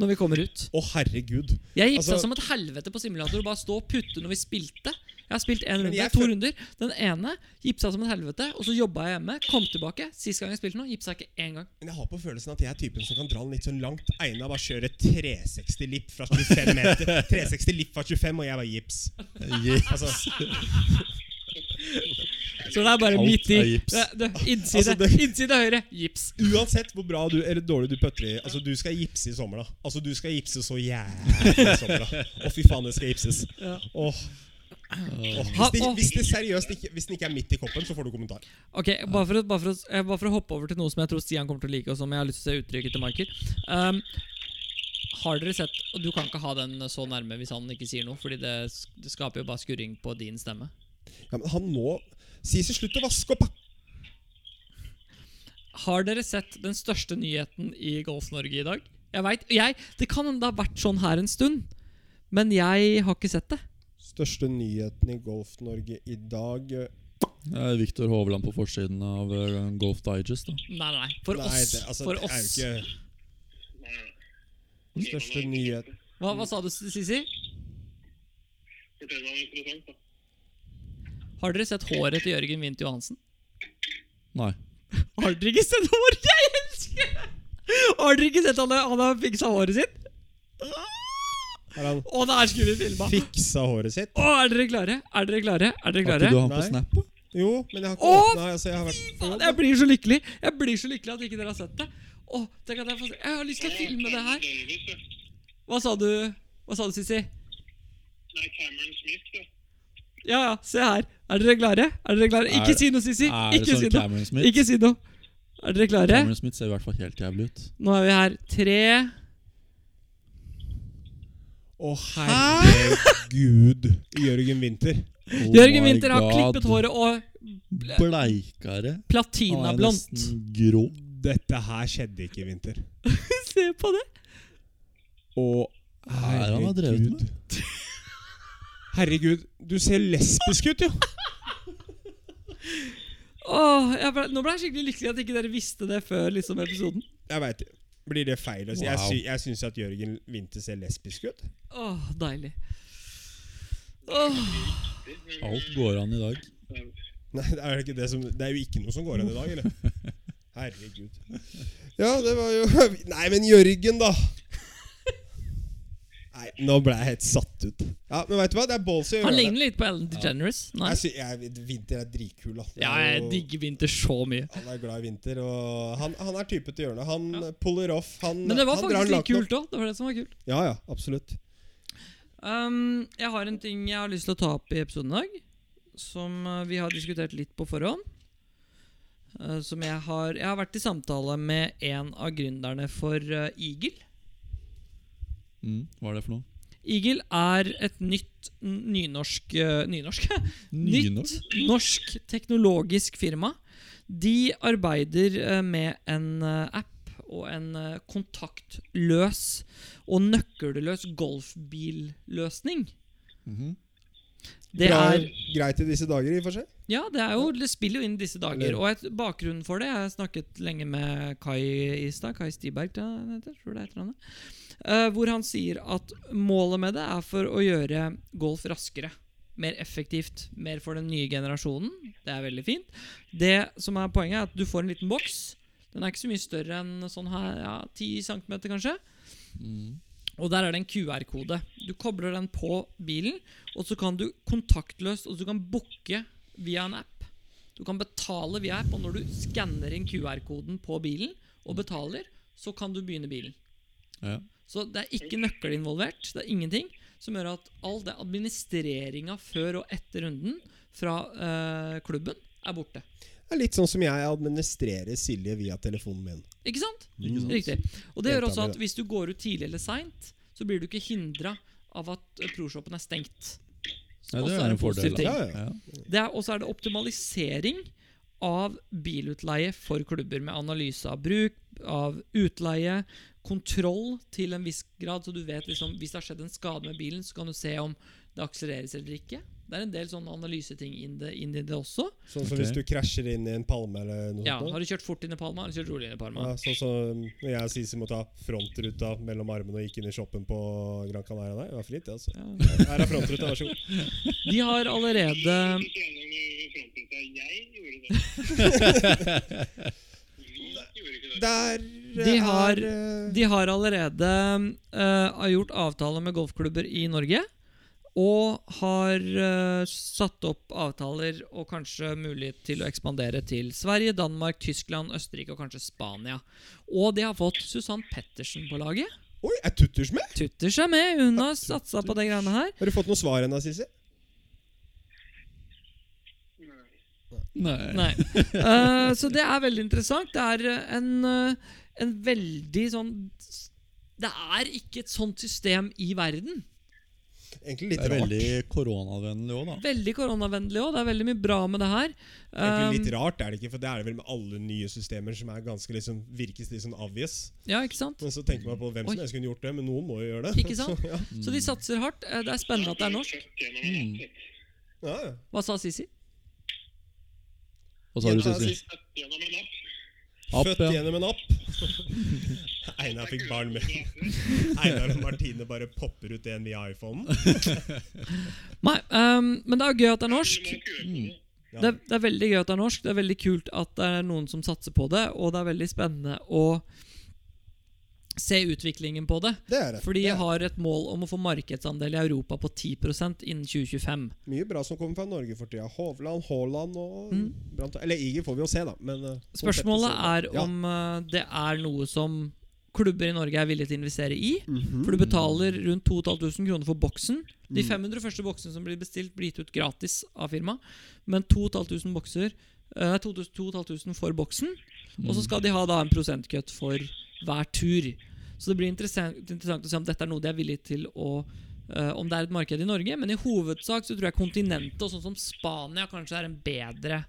S1: Når vi kommer ut.
S2: Å, herregud.
S1: Jeg gipsa
S2: Altså-
S1: som et helvete på simulator og bare stå og putte når vi spilte. Jeg har spilt én
S2: Men
S1: runde,
S2: jeg
S1: to
S2: føl-
S1: runder. Den ene gipsa som et helvete, og så jobba jeg hjemme. Kom tilbake. Sist gang jeg spilte nå, gipsa jeg ikke én gang.
S2: Men jeg har på følelsen at jeg er typen som kan dra den litt sånn langt. Einar bare kjører 360 lipp fra 25 meter. 360 lipp fra 25, og jeg bare gips.
S4: <laughs> Gi-
S2: Altså,
S1: Så det er bare
S4: Alt
S1: midt i.
S4: er gips.
S1: Det, det, innside,
S2: Altså, det-
S1: innside høyre, gips.
S2: uansett hvor bra du eller dårlig du putter i Altså, du skal gipse i sommer, da. Altså, du skal gipse så jævlig i sommer, da. Å, fy faen, det skal gipses.
S1: Ja.
S2: Åh. Åh.
S1: Ha-
S2: Hvis, det,
S1: åh.
S2: hvis det seriøst ikke, hvis den ikke er midt i koppen, så får du kommentar.
S1: Ok, bare for, å, bare, for å, eh, bare for å hoppe over til noe som jeg tror Stian kommer til å like, og som jeg har lyst til å se uttrykket til Michael. Ehm, har dere sett Og du kan ikke ha den så nærme hvis han ikke sier noe, Fordi det, s- det skaper jo bare skurring på din stemme.
S2: Ja, men han nå Si så slutt å vaske opp, da!
S1: Har dere sett den største nyheten i Golf-Norge i dag? Jeg vet, jeg, Det kan hende det har vært sånn her en stund, men jeg har ikke sett det.
S2: Største nyheten i Golf-Norge i dag eh,
S4: Det er Viktor Hovland på forsiden av eh, Golf Digest. da
S1: Nei, nei, nei. For
S2: Nei,
S1: oss.
S2: det, altså,
S1: for
S2: det er
S1: oss.
S2: jo ikke største nyhet
S1: Hva, hva sa du, Sisi?
S3: Fortell meg noe interessant, da.
S1: Har dere sett håret til Jørgen Wint Johansen?
S4: Nei.
S1: Har dere ikke sett håret? Jeg elsker det! Har dere ikke sett han, han har fiksa håret sitt?
S2: Er han
S1: Å, det er skummelt filma!
S2: fiksa håret sitt?
S1: Å, er dere klare? Er dere klare? Er dere
S4: Har ikke du
S1: klare?
S4: han på
S2: Nei.
S4: Snap? da?
S2: Jo, men jeg har ikke
S1: Å,
S2: åpnet, altså, jeg har
S1: Faen,
S2: vært
S1: jeg blir så lykkelig Jeg blir så lykkelig at ikke dere har sett det. Å, tenk at Jeg får se Jeg har lyst til å filme det her.
S3: <laughs>
S1: <laughs> Hå, Hva sa du, Hva sa du, Sissi?
S3: Nei, Cameron Smith, ja.
S1: Ja, ja, se her. Er dere klare? Er dere klare? Ikke
S4: Er-
S1: si noe, Sissi.
S4: Er det
S1: Ikke
S4: sånn
S1: si noe.
S4: Cameron Smith?
S1: Ikke si noe. Er dere klare?
S4: Cameron Smith ser i hvert fall helt jævlig ut.
S1: Nå er vi her. Tre
S2: Å, herregud. Jørgen Winther.
S4: Oh
S1: Jørgen
S4: my
S1: Winther har
S4: God.
S1: klippet håret og
S4: Bleikere. Han er
S1: platinablondt.
S4: nesten grå.
S2: Dette her skjedde ikke i vinter.
S1: Se på det!
S2: Å,
S4: er det han har drevet
S2: herregud. Herregud, du ser lesbisk ut, jo!
S1: Åh, jeg ble, nå ble jeg skikkelig lykkelig at ikke dere visste det før liksom, episoden.
S2: Jeg veit det. Blir det feil å si? Jeg,
S4: Wow.
S2: sy jeg syns at Jørgen Winther ser lesbisk ut.
S1: Åh, deilig. Åh,
S4: Alt går an i dag.
S2: Nei, det er, ikke det, som, det er jo ikke noe som går an i dag, eller? Herregud. Ja, det var jo Nei, men Jørgen, da! Nei, nå ble jeg helt satt ut. Ja, Men veit du hva? Det er ballsy å
S1: han
S2: gjøre det.
S1: ligner litt på Ellen DeGeneres. Nei.
S2: Jeg sy jeg, Vinter er dritkul, da. Det er
S1: Ja, jeg
S2: jo-
S1: digger vinter så mye.
S2: Han er glad i vinter, og han, han er type til hjørnet. Han puller off. Han,
S1: Men det var
S2: han
S1: faktisk
S2: drar
S1: litt
S2: lakenet
S1: kult òg. Det var det som var kult.
S2: opp. Ja, ja, absolutt.
S1: Um, jeg har en ting jeg har lyst til å ta opp i episoden i dag, som eh, vi har diskutert litt på forhånd. Eh, som jeg har Jeg har vært i samtale med en av gründerne for eh, Eagle.
S4: Mm, hva er det for noe?
S1: Eagle er et nytt n- nynorsk eh, Nynorsk? <laughs>
S4: Nynorsk?
S1: Nytt norsk teknologisk firma. De arbeider eh, med en eh, app og en eh, kontaktløs og nøkkelløs golfbilløsning.
S4: Mhm.
S1: Det
S2: Bra-
S1: er
S2: greit i disse dager, i og for seg.
S1: Ja, det, er jo, det spiller jo inn disse dager.
S2: Eller-
S1: Og et, bakgrunnen for det Jeg har snakket lenge med Kai i stad. Kai Stiberg, tror jeg han heter. Tror det heter han det. Eh, hvor han sier at målet med det er for å gjøre golf raskere. Mer effektivt. Mer for den nye generasjonen. Det er veldig fint. Det som er Poenget er at du får en liten boks. Den er ikke så mye større enn sånn her, ja, 10 cm, kanskje. Og der er det en QR-kode. Du kobler den på bilen, og så kan du kontaktløst og du kan booke via en app. Du kan betale via app, og når du skanner inn QR-koden på bilen og betaler, så kan du begynne bilen.
S4: Ja.
S1: Så det er ikke nøkkel involvert. Det er ingenting som gjør at all den administreringa før og etter runden fra eh, klubben er borte.
S2: Det er litt sånn som jeg administrerer Silje via telefonen min.
S1: Ikke sant?
S4: Ikke sant?
S1: Riktig. Og det
S2: Helt
S1: gjør også
S2: enig i
S1: at hvis du går ut tidlig eller seint, så blir du ikke hindra av at eh, proshopen er stengt.
S4: Nei,
S1: Også
S4: det
S1: er
S4: er
S1: det
S4: en fordel.
S1: positiv
S4: da.
S1: ting.
S2: Ja, ja.
S4: Ja.
S1: Det er, og så er det optimalisering av bilutleie for klubber, med analyse av bruk, av utleie, kontroll til en viss grad, så du vet liksom Hvis det har skjedd en skade med bilen, så kan du se om det akselereres eller ikke. Det er en del sånne analyseting inn, det- inn i det også.
S2: Sånn som
S4: Ok.
S2: hvis du krasjer inn i en palme eller noe
S1: Ja, Har
S2: sånt.
S1: du kjørt fort inn i Palma, har du kjørt rolig inn i
S2: noe.
S1: Parma?
S2: Ja, sånn som når jeg og Sisi må ta frontruta mellom armene og gikk inn i shoppen på Gran Canaria. Nei, det var fritt, det, altså.
S1: Ja.
S2: Her er frontruta, vær så god.
S1: De har allerede
S3: Ikke gjennom i frontruta. Jeg gjorde det. Vi gjorde ikke det.
S2: Der
S1: De har-
S2: er eh,
S1: De har allerede eh, har gjort avtaler med golfklubber i Norge. Og har eh, satt opp avtaler og kanskje mulighet til å ekspandere til Sverige, Danmark, Tyskland, Østerrike og kanskje Spania. Og de har fått Susann Pettersen på laget.
S2: Oi, er Tutters med?
S1: Tutter seg med. Hun har satsa på de greiene her.
S2: Har du fått noe svar ennå, Sisi?
S4: Nei.
S1: Nei. Eh, så det er veldig interessant. Det er eh, en, eh, en veldig sånn Det er ikke et sånt system i verden.
S2: Egentlig
S4: Det
S2: litt
S4: er
S2: rart.
S4: veldig koronavennlig òg, da.
S1: Veldig koronavennlig òg. Det er veldig mye bra med det her.
S2: Egentlig
S1: Um,
S2: litt rart er det ikke, for det er det vel med alle nye systemer som er ganske liksom, virkes litt sånn obvious.
S1: ja, ikke sant?
S2: Men så tenker man på hvem som
S1: Oi.
S2: helst kunne gjort det, men noen må jo gjøre det.
S1: Ikke sant?
S2: Så, <laughs> ja.
S1: Så de satser hardt. Eh, Det er spennende at det er norsk.
S3: Født gjennom en app,
S4: Mm.
S3: vet du.
S2: Ja, ja.
S1: Hva sa Sisi?
S4: Hva sa du,
S2: Ja,
S4: Sissel?
S2: Sissel.
S3: Født gjennom en app.
S4: App,
S2: Født
S4: ja.
S2: gjennom en app. <laughs> Einar fikk barn med
S4: <laughs>
S2: Einar og Martine bare popper ut en via iPhonen.
S1: Nei, ehm, men det er gøy at det er norsk.
S3: Mm.
S2: Ja.
S1: Det er, det er veldig gøy at det er norsk. Det er veldig kult at det er noen som satser på det, og det er veldig spennende å se utviklingen på det.
S2: Det er det.
S1: For de
S2: det er.
S1: har et mål om å få markedsandel i Europa på 10 innen 2025.
S2: Mye bra som kommer fra Norge for tida. Hovland, Haaland og Brant Eller Iger får vi jo se, da. Men, eh,
S1: Mm. Spørsmålet er
S2: fortsettelse- Ja.
S1: om eh, det er noe som klubber i Norge er villige til å investere i.
S4: Mhm.
S1: For du betaler rundt 2500 kroner for boksen. De
S4: Mm.
S1: 500 første boksene som blir bestilt, blir gitt ut gratis av firmaet. Men 2500 bokser eh, Nei, 2500 for boksen. Og
S4: Mm.
S1: så skal de ha da en prosentkutt for hver tur. Så det blir interessant, interessant å se om dette er noe de er villige til å eh, Om det er et marked i Norge. Men i hovedsak så tror jeg kontinentet og sånn som Spania kanskje er en bedre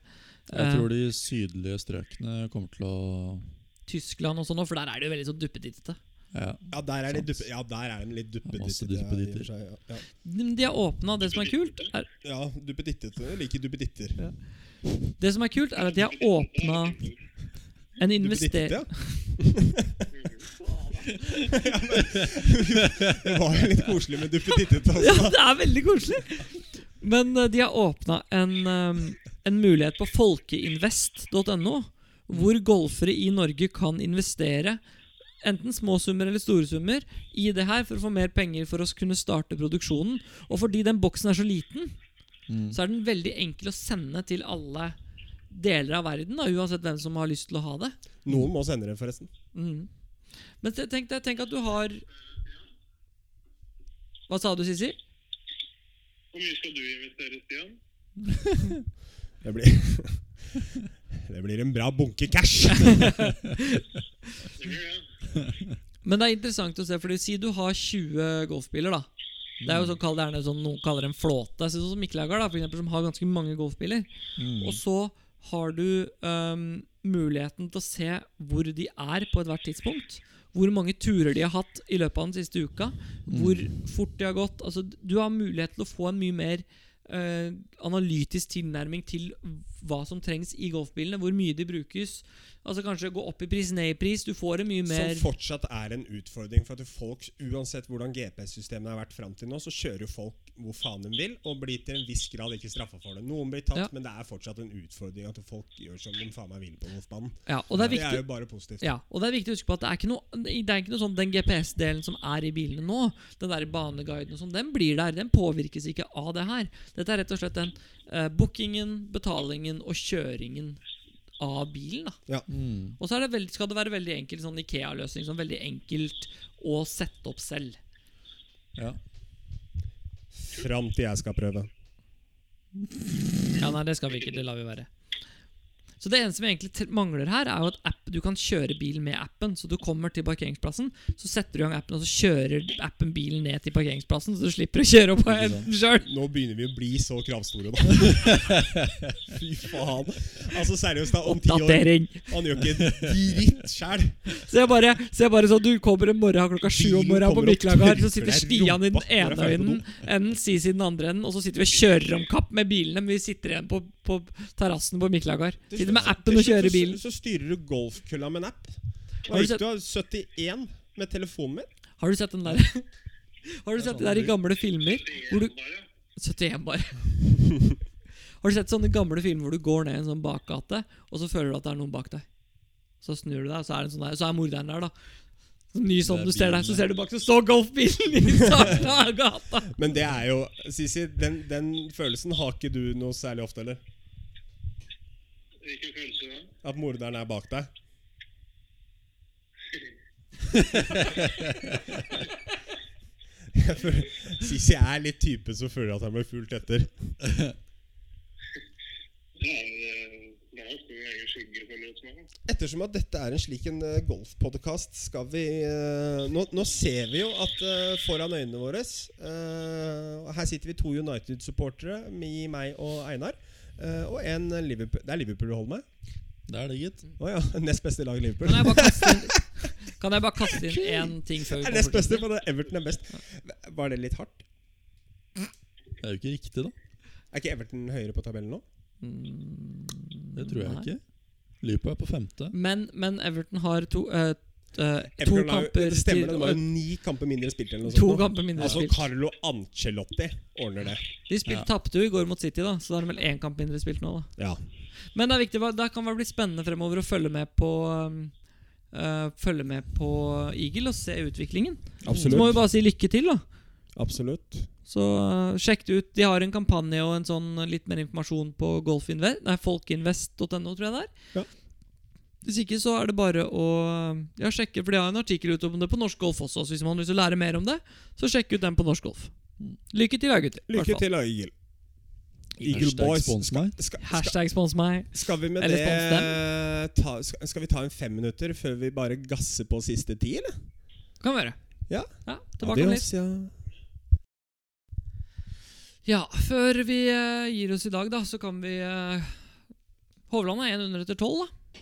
S4: Jeg tror de sydlige strøkene kommer til å
S1: Tyskland og sånn, også, for der er det jo veldig sånn duppedittete.
S4: Ja.
S2: Ja, der er de, duppe, ja, der er de litt
S4: Masse
S2: duppedittete.
S4: duppeditter.
S2: i og for seg,
S1: Men De har åpna Det som er kult, er,
S2: Ja, ja. ja duppedittete. Jeg liker duppeditter.
S1: Ja. det som er kult er at de har åpna en investering
S2: Duppedittete, ja. men- <laughs> det var jo litt koselig med duppedittete.
S1: <laughs> Ja,
S2: Altså.
S1: det er veldig koselig! Men eh, de har åpna en, eh, en mulighet på folkeinvest.no, hvor golfere i Norge kan investere enten små summer eller store summer i det her for å få mer penger for å kunne starte produksjonen. Og fordi den boksen er så liten,
S4: Mm.
S1: så er den veldig enkel å sende til alle deler av verden, da, uansett hvem som har lyst til å ha det.
S2: Noen må sende det, forresten.
S1: Mm. Men te- tenk deg tenk at du har Hva sa du, Sissy?
S3: Hvor mye skal du investere, Stian?
S2: Det blir, <laughs> det blir en bra bunke cash.
S3: Det blir det.
S1: Men det er interessant å se, fordi si du har 20 golfbiler, da. Det er jo sånn, kall- det er noe sånn, noen kaller det en flåte. Så Sånn som Mikkel Hagar, da, for eksempel, som har ganske mange golfbiler. Og så har du øhm, muligheten til å se hvor de er på ethvert tidspunkt. Hvor mange turer de har hatt i løpet av den siste uka. Hvor fort de har gått. Altså, du har mulighet til å få en mye mer øh, analytisk tilnærming til hva som trengs i golfbilene. Hvor mye de brukes. Altså Kanskje gå opp i pris, ned i pris. Du får det mye mer
S2: Som fortsatt er en utfordring. For at folk, uansett hvordan GPS-systemet har vært fram til nå, så kjører jo folk hvor faen de vil, og blir til en viss grad ikke straffa for det. Noen blir tatt,
S1: Ja.
S2: men det er fortsatt en utfordring at folk gjør som de faen meg vil på golfbanen.
S1: Ja, og det er viktig
S2: jo bare positivt.
S1: ja, og det er viktig å huske på at det er ikke noe, det er ikke noe sånn den GPS-delen som er i bilene nå, den der baneguiden og sånn, den blir der. Den påvirkes ikke av det her. Dette er rett og slett den eh, bookingen, betalingen og kjøringen av bilen. da.
S4: Mm.
S1: Og så er det veldig, skal det være veldig enkel sånn Ikea-løsning. sånn Veldig enkelt å sette opp selv.
S4: Ja.
S2: Fram til jeg skal prøve.
S1: Ja, nei, det skal vi ikke. Det lar vi være. Så det eneste vi egentlig tre- mangler her, er jo at app, du kan kjøre bil med appen. Så du kommer til parkeringsplassen, så setter du i gang appen, og så kjører appen bilen ned til parkeringsplassen, så du slipper å kjøre opp på
S4: Ikke sant.
S1: enden sjøl.
S2: Nå begynner vi å bli så kravstore, da. <laughs> Fy faen. Altså seriøst, da. Om ti år
S1: Datering.
S2: Han gjør ikke en dritt sjæl.
S1: Så jeg bare, så jeg bare sånn Du kommer en morgen klokka sju om
S2: Bilen
S1: morgenen på
S2: kommer og
S1: Miklagard, så
S2: tørker
S1: sitter
S2: deg i
S1: Stian i den
S2: rumpa når du
S1: ene
S2: er ferdig på
S1: enden, enden Sisi i den andre enden, og så sitter vi og kjører om kapp med bilene, men vi sitter igjen på, på terrassen på Miklagard. Sitter med appen og kjører bilen.
S2: Så, så styrer du golfkølla med en app.
S1: Har
S2: Har
S1: du
S2: du,
S1: sett-
S2: du har 71 med telefonen min.
S1: Har du sett den der? <laughs> Har du sett det der i gamle filmer hvor du
S3: Bare.
S1: 71
S2: <laughs>
S1: bare. Har du sett sånne gamle filmer hvor du går ned i en sånn bakgate, og så føler du at det er noen bak deg? Så snur du deg, og så er, det en sånn der, så er morderen der, da. Så ny sånn
S4: Det er
S1: du ser
S4: bilen
S1: deg, så
S4: der.
S1: ser du bak, så står golfbilen
S2: <laughs>
S1: i starten av gata!
S2: Men det er jo Sisi, den, den følelsen har ikke du noe særlig ofte, eller?
S3: Hvilken følelse da?
S2: At morderen er bak <laughs> deg? Jeg føler- Sisi er litt type som føler at han blir fulgt etter.
S3: Det er, eh, det er jo ikke noen egen skygge, føler jeg som er.
S2: Ettersom at dette er en slik en eh, golfpodcast, skal vi eh, nå, nå ser vi jo at eh, foran øynene våre eh, og Her sitter vi to United-supportere, mi, meg og Einar. eh, og en Liverpool Det er Liverpool du holder med?
S4: Det er det, gitt.
S2: Å ja. <laughs> Nest beste lag Liverpool.
S1: Kan jeg bare kaste inn, kan <laughs> jeg bare kaste inn én ting før
S2: <laughs>
S1: vi
S2: Det er nest
S1: kommer
S2: beste,
S1: til
S2: for det er Everton er best. Var det litt hardt?
S4: Det er jo ikke riktig, da.
S2: Er ikke Everton høyere på tabellen nå?
S1: Mm.
S4: Det tror jeg
S1: Nei.
S4: ikke. Liverpool er på femte.
S1: Men, men Everton har to, eh, t- eh, to
S2: Everton har jo-
S1: kamper
S2: det
S1: til-
S2: stemmer,
S1: eh,
S2: det var jo ni kamper mindre spilt eller noe
S1: To
S2: sånt. nå.
S1: kamper mindre
S2: Altså
S1: spilt.
S2: Carlo Ancelotti ordner det.
S1: De spilte,
S4: Ja.
S1: tapte jo i går mot City, da så da har de vel én kamp mindre spilt nå. da
S2: Ja.
S1: Men det er viktig, hva- det kan vel bli spennende fremover å følge med på um, eh, Følge med på Eagle og se utviklingen. Så må vi
S2: Absolutt.
S1: bare si lykke til, da.
S2: Absolutt.
S1: Så eh, sjekk det ut. De har en kampanje og en sånn eh, litt mer informasjon på golfinve- nei, folkinvest.no, tror jeg det er.
S2: Ja.
S1: Hvis ikke, så er det bare å eh, ja, sjekke, for de har en artikkel ute om det på Norsk Golf også. Så hvis man har lyst til å lære mer om det, så sjekk ut den på Norsk Golf. Lykke til, da, gutter. i hvert
S2: Lykke
S1: fall.
S2: til, da, Eagle. Eagle
S4: Hashtag
S2: Boys.
S4: spons meg.
S2: Skal, skal,
S1: Hashtag spons meg.
S2: skal vi med
S1: Eller
S2: det ta, skal, skal vi ta en fem minutter før vi bare gasser på siste ti, eller?
S1: Kan være.
S2: Ja.
S1: ja tilbake om litt.
S2: ja.
S1: Ja, før vi eh, gir oss i dag, da, så kan vi eh, Hovland er én under etter tolv, da.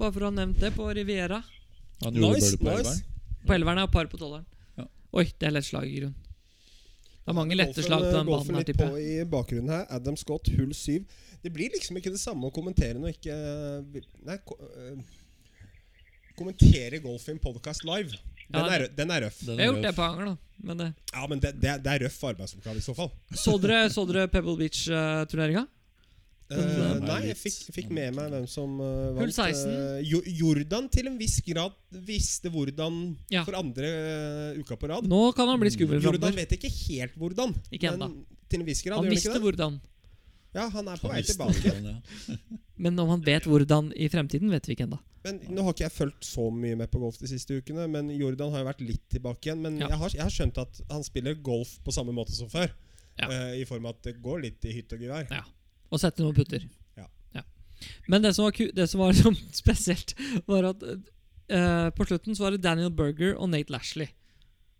S1: Bare for å ha nevnt det på Riviera.
S4: Han gjorde
S2: Nice,
S4: bølle på
S2: nice.
S4: Elveren.
S1: På elveren og par på tolveren.
S4: Ja.
S1: Oi, det er lett slag i grunn. Det er mange lette slag på den
S2: Golfen
S1: banen her,
S2: litt
S1: tipper
S2: på
S1: jeg.
S2: i bakgrunnen her. Adam Scott, hull 7. Det blir liksom ikke det samme å kommentere når ikke eh, Nei, ko, øh, kommentere golf i en podkast live. Den,
S1: Ja,
S2: er, rø- den er røff.
S4: Den
S1: Jeg har gjort
S4: er
S1: det på Anger, da. Men det.
S2: Ja, men det, det, er- det er røff arbeidsoppgave i så fall.
S1: Så dere, så dere Pebble Beach-turneringa?
S2: Eh,
S4: Den er
S2: nei, jeg
S4: litt-
S2: fikk, fikk med meg hvem som eh, vant.
S1: Hull 16.
S2: Eh, jo, Jordan til en viss grad visste hvordan
S1: Ja.
S2: for andre eh, uka på rad.
S1: Nå kan han bli skummel
S2: Jordan
S1: framover.
S2: vet ikke helt hvordan,
S1: Ikke
S2: men
S1: enda.
S2: til en viss grad.
S1: Han
S2: gjør
S1: visste
S2: ikke det?
S1: hvordan.
S2: Ja, han er på
S4: Han
S2: vei
S4: visste
S2: tilbake.
S4: hvordan, ja.
S1: Men om han vet hvordan i fremtiden, vet vi ikke ennå.
S2: Men Nå har ikke jeg fulgt så mye med på golf de siste ukene, men Jordan har jo vært litt tilbake igjen. Men
S1: Ja.
S2: jeg, har, jeg har skjønt at han spiller golf på samme måte som før.
S1: Ja.
S2: eh, I form av at det går litt i hytt og gevær.
S1: Ja. Og sette noen putter.
S2: Ja.
S1: Men det som var, ku det som var <laughs> liksom spesielt, var at eh, på slutten så var det Daniel Berger og Nate Lashley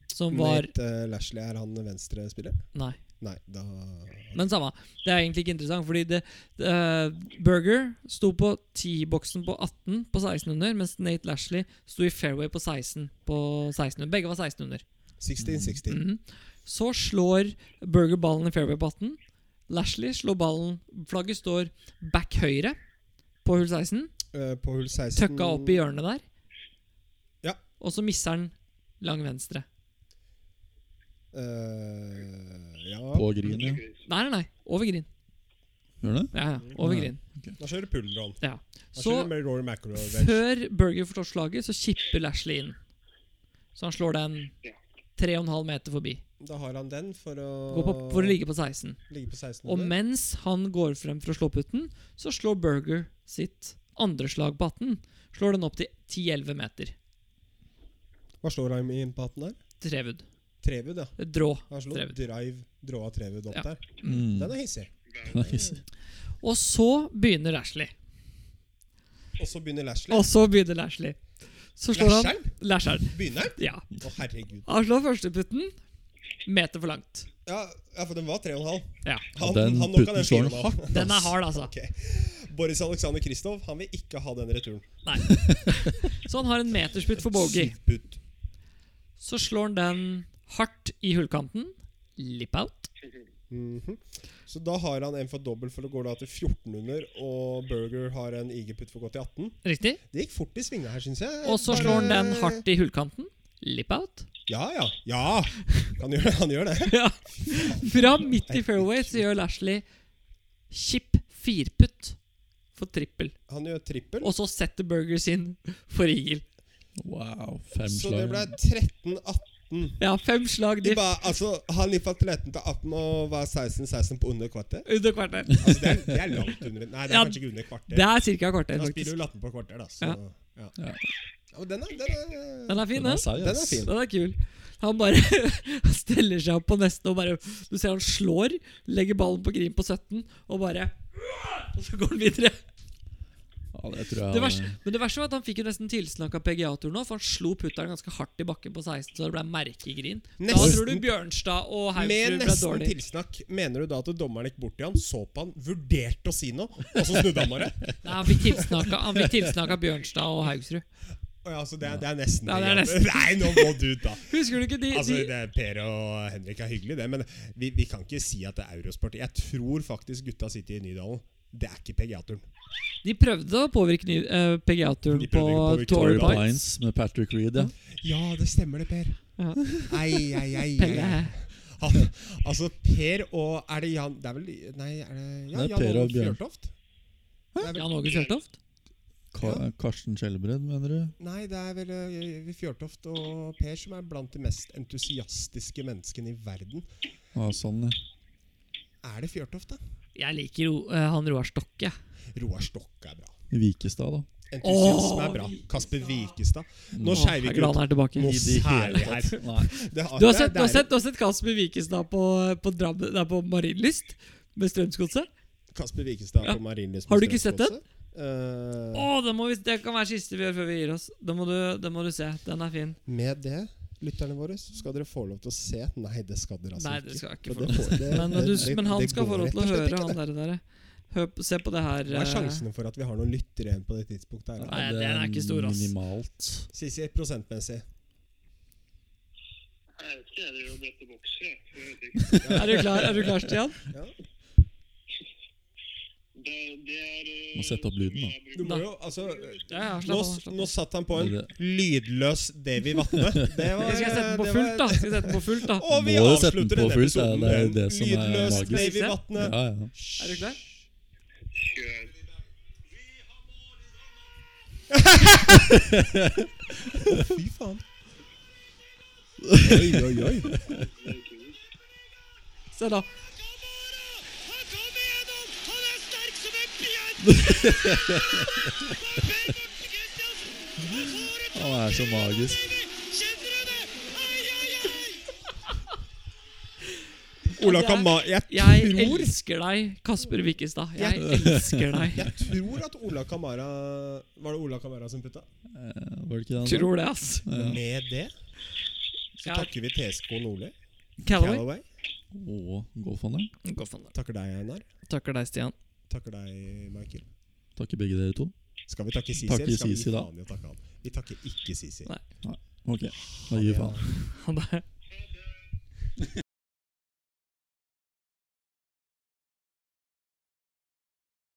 S1: som var
S2: Nate eh, Lashley, er han venstrespiller?
S1: Nei.
S2: Nei, da
S1: Men samme. Det er egentlig ikke interessant, fordi det, det, eh, Berger sto på T-boksen på 18 på 16 under, mens Nate Lashley sto i fairway på 16 på 16 under. Begge var 16 under.
S2: 16-60.
S1: Mhm. Så slår Berger ballen i fairway på 18. Lashley slår ballen Flagget står back høyre på hull 16.
S2: Eh, på hull 16
S1: Tøkka opp i hjørnet der.
S2: Ja.
S1: Og så misser han lang venstre.
S2: Eh, ja.
S4: På green, ja.
S1: Nei, nei, nei. Over green.
S4: Gjør det?
S1: Ja, ja. Over
S4: Ja.
S1: green.
S2: Da kjører pull-on.
S1: Ja.
S2: Da
S1: Så
S2: kjører med Rory McIlroy.
S1: før Berger får tatt slaget, så chipper Lashley inn. Så han slår den 3,5 meter forbi.
S2: Da har han den for å,
S1: Går på, for å ligge på 16.
S2: ligge på 16.
S1: Og
S2: under.
S1: mens han går frem for å slå putten, så slår Berger sitt andre slag på 18. Slår den opp til 10-11 meter.
S2: Hva slår han inn på 18 der?
S1: Trevud.
S2: Trevud, ja.
S1: Et Drå.
S2: Han slo
S1: Trevud.
S2: drive, dråa Trevud opp
S1: Ja.
S2: der.
S4: Mm.
S2: Den er hissig.
S1: Og så begynner Lashley.
S2: Og så begynner Lashley.
S1: Og så begynner Lashley. Så slår han
S2: Lasheren?
S1: Lasheren.
S2: Begynner han?
S1: Ja.
S2: Å, herregud.
S1: Han slår førsteputten. Meter for langt.
S2: Ja, ja, for den var 3,5.
S1: Ja.
S4: Og den putten slår han hardt.
S1: Den er hard, altså.
S2: Boris Alexander Kristov han vil ikke ha den returen.
S1: Nei. Så han har en metersputt for bogey.
S2: Putt.
S1: Så slår han den hardt i hullkanten. Lip out.
S2: Mhm. Så da har han en for dobbelt, for det går da til 14 under. Og Burger har en igerputt for å gå til 18.
S1: Riktig.
S2: Det gikk fort i svinga her, syns jeg.
S1: Og så
S2: Bare-
S1: slår han den hardt i hullkanten. Lip out.
S2: Ja, ja. Ja! Han gjør, han gjør det.
S1: Ja. Fra midt i fairway så gjør Lashley chip firputt for trippel.
S2: Han gjør trippel.
S1: Og så setter Burger sin for eagle.
S4: Wow. Fem
S2: Så det ble
S4: slag.
S2: 13-18.
S1: Ja, fem slag
S2: De
S1: diff
S2: bare, altså, han gikk fra 13 til 18 og var 16-16 på under kvarter.
S1: under kvarter.
S2: Altså, det, er, det er langt under Nei, det er
S1: Ja,
S2: kanskje ikke under
S1: Det
S2: kvarter.
S1: er ca. kvarter,
S2: Han
S1: faktisk.
S2: spiller jo 18 på kvarter, da. Så,
S1: Ja.
S2: ja.
S4: Ja.
S2: Ja, men den er, den er
S1: Den er fin,
S4: Den
S1: den.
S4: er seig,
S2: Den er
S4: ass.
S2: fin.
S1: Den er kul. Han bare <laughs> han steller seg opp på nesten og bare Du ser han slår, legger ballen på green på 17 og bare Og så går han videre.
S4: Ja, det tror jeg eh,
S1: Det verste, men det verste var at han fikk jo nesten tilsnakk av PGA-turen nå, for han slo putteren ganske hardt i bakken på 16, så det ble merkegrin. Da
S2: Nesten-
S1: tror du Bjørnstad og
S2: Med
S1: Haugstrud ble
S2: nesten
S1: dårlig.
S2: tilsnakk, mener du da at dommeren gikk bort til han, så på han, vurderte å si noe, og så snudde han
S1: <laughs>
S2: bare?
S1: Nei, han fikk tilsnakk av- han fikk tilsnakk av Bjørnstad og Haugstrud.
S2: Å ja, altså, det, er- det er nesten
S1: Ja, det er
S2: PGA.
S1: nesten.
S2: <laughs> Nei, nå må du
S1: <laughs>
S2: ut, da.
S1: Husker du ikke de,
S2: Altså,
S1: de
S2: det, er Per og Henrik er hyggelig, det, men vi, vi kan ikke si at det er Eurosport. Jeg tror faktisk gutta sitter i Nydalen. Det er ikke PGA-turen.
S1: De prøvde å påvirke ny- eh, PGA-turen
S2: De
S1: på
S2: prøvde ikke å påvirke
S1: Tory
S4: Tory
S2: Pines.
S1: Pines.
S4: Pines med Patrick Reed, ja.
S2: Ja, det stemmer det, Per.
S1: <laughs> Ja.
S2: Ei, ei, ei, ei.
S1: PGA.
S2: Han, altså, Per og Er det Jan Det er vel Nei, er det ja,
S4: Det er
S2: Jan
S4: Per og
S2: Olav
S4: Bjørn.
S2: Fjørtoft? Det er vel-
S1: Jan Åge Fjørtoft?
S4: Ka Karsten Skjelbred, mener du?
S2: Nei, det er vel eh, Fjørtoft og Per som er blant de mest entusiastiske menneskene i verden.
S4: Ja, sånn, ja.
S2: Er det Fjørtoft, da?
S1: Jeg liker Ro, eh, han Roar Stokke.
S2: Roar Stokke er bra.
S4: I Vikestad, da.
S1: Åh,
S2: Entusiasme er bra. Kasper Vikestad. Nå
S1: Åh, jeg
S2: skeiv
S1: er
S2: ikke
S1: glad
S2: ut.
S1: han er tilbake.
S2: Nå
S4: I det hele
S2: særlig her.
S4: tatt. Nei.
S2: Det
S1: Du har sett, du har sett, du har sett Kasper Vikestad på, på, Drammen- nei, på Marienlyst med Strømsgodset?
S2: Kasper Vikestad
S1: Ja.
S2: på Marienlyst.
S1: Har du ikke sett den?
S2: Eh,
S1: Å, det, må vi, det kan være siste vi gjør før vi gir oss. Det må du, det må du se. Den er fin.
S2: med det, lytterne våre, så skal dere få lov til å se. Nei, det skal dere altså
S1: Nei, det skal jeg ikke
S2: For
S1: få
S2: det får- det-
S1: Men,
S2: det-
S1: du,
S2: det-
S1: men han
S2: det
S1: skal få
S2: går
S1: lov
S2: rett
S1: til å
S2: og slett
S1: høre,
S2: ikke,
S1: han
S2: det.
S1: der. der. Hør, på- se på det her.
S2: Hva er
S1: eh,
S2: sjansene for at vi har noen lyttere igjen på det tidspunktet? her da?
S1: Nei, den er ikke stor, ass.
S4: Minimalt.
S2: Sisi, prosentmessig.
S3: Jeg vet ikke, jeg driver og bretter bokser, jeg. så jeg vet ikke.
S1: Er du klar, er du klar
S2: <laughs>
S1: Stian?
S2: Ja.
S3: Det, det er eh,
S4: Må sette opp lyden, da.
S3: jeg bruker.
S2: Du må
S1: Da.
S2: jo, altså
S1: Ja, ja,
S2: nå,
S1: slapp av. slapp
S2: nå
S1: av.
S2: satt han på en lydløs Davy
S4: <laughs>
S2: Vatne. Det var
S1: Jeg skal sette den på
S2: det var-
S1: fullt, da. Skal jeg sette den på fullt, da.
S2: Og vi
S4: Må jo sette den
S2: avslutter
S4: på
S2: denne
S4: fullt, det er-
S2: episoden
S4: det er
S2: med
S4: jo
S2: en
S4: det som er
S2: lydløs
S4: magisk.
S2: Davy Vatne.
S4: Ja, ja.
S1: Er du klar?
S3: Kjør.
S2: Fy faen. Oi, oi, oi.
S1: Se da.
S5: Han kommer gjennom! Han er sterk som en bjørn! Per Morten Kristiansen! Han får et
S4: Han er så magisk.
S5: liv! Kjenner du det? Ai, ai, ai!
S2: Ola Kama jeg,
S1: Jeg
S2: tror,
S1: elsker deg, Kasper Wikkestad. Jeg elsker deg.
S2: jeg tror at Ola Kamara Var det Ola Kamara som putta?
S4: Ja, Var det ikke det han sa?
S1: Tror det, ass.
S2: Med det så
S1: Ja.
S2: takker vi TSK Nordli.
S1: Callaway.
S2: Callaway.
S4: Å, golfhandelen.
S1: Gå faen da.
S2: Takker deg, Einar.
S1: Takker deg, Stian.
S2: Takker deg, Michael.
S4: Takker begge dere to.
S2: Skal vi takke Sisi?
S4: Takker
S2: eller skal vi gi
S4: Sisi, da.
S2: faen i å takke han? Vi takker ikke Sisi.
S1: Nei.
S4: Ok, da gir vi faen.
S1: Ha det.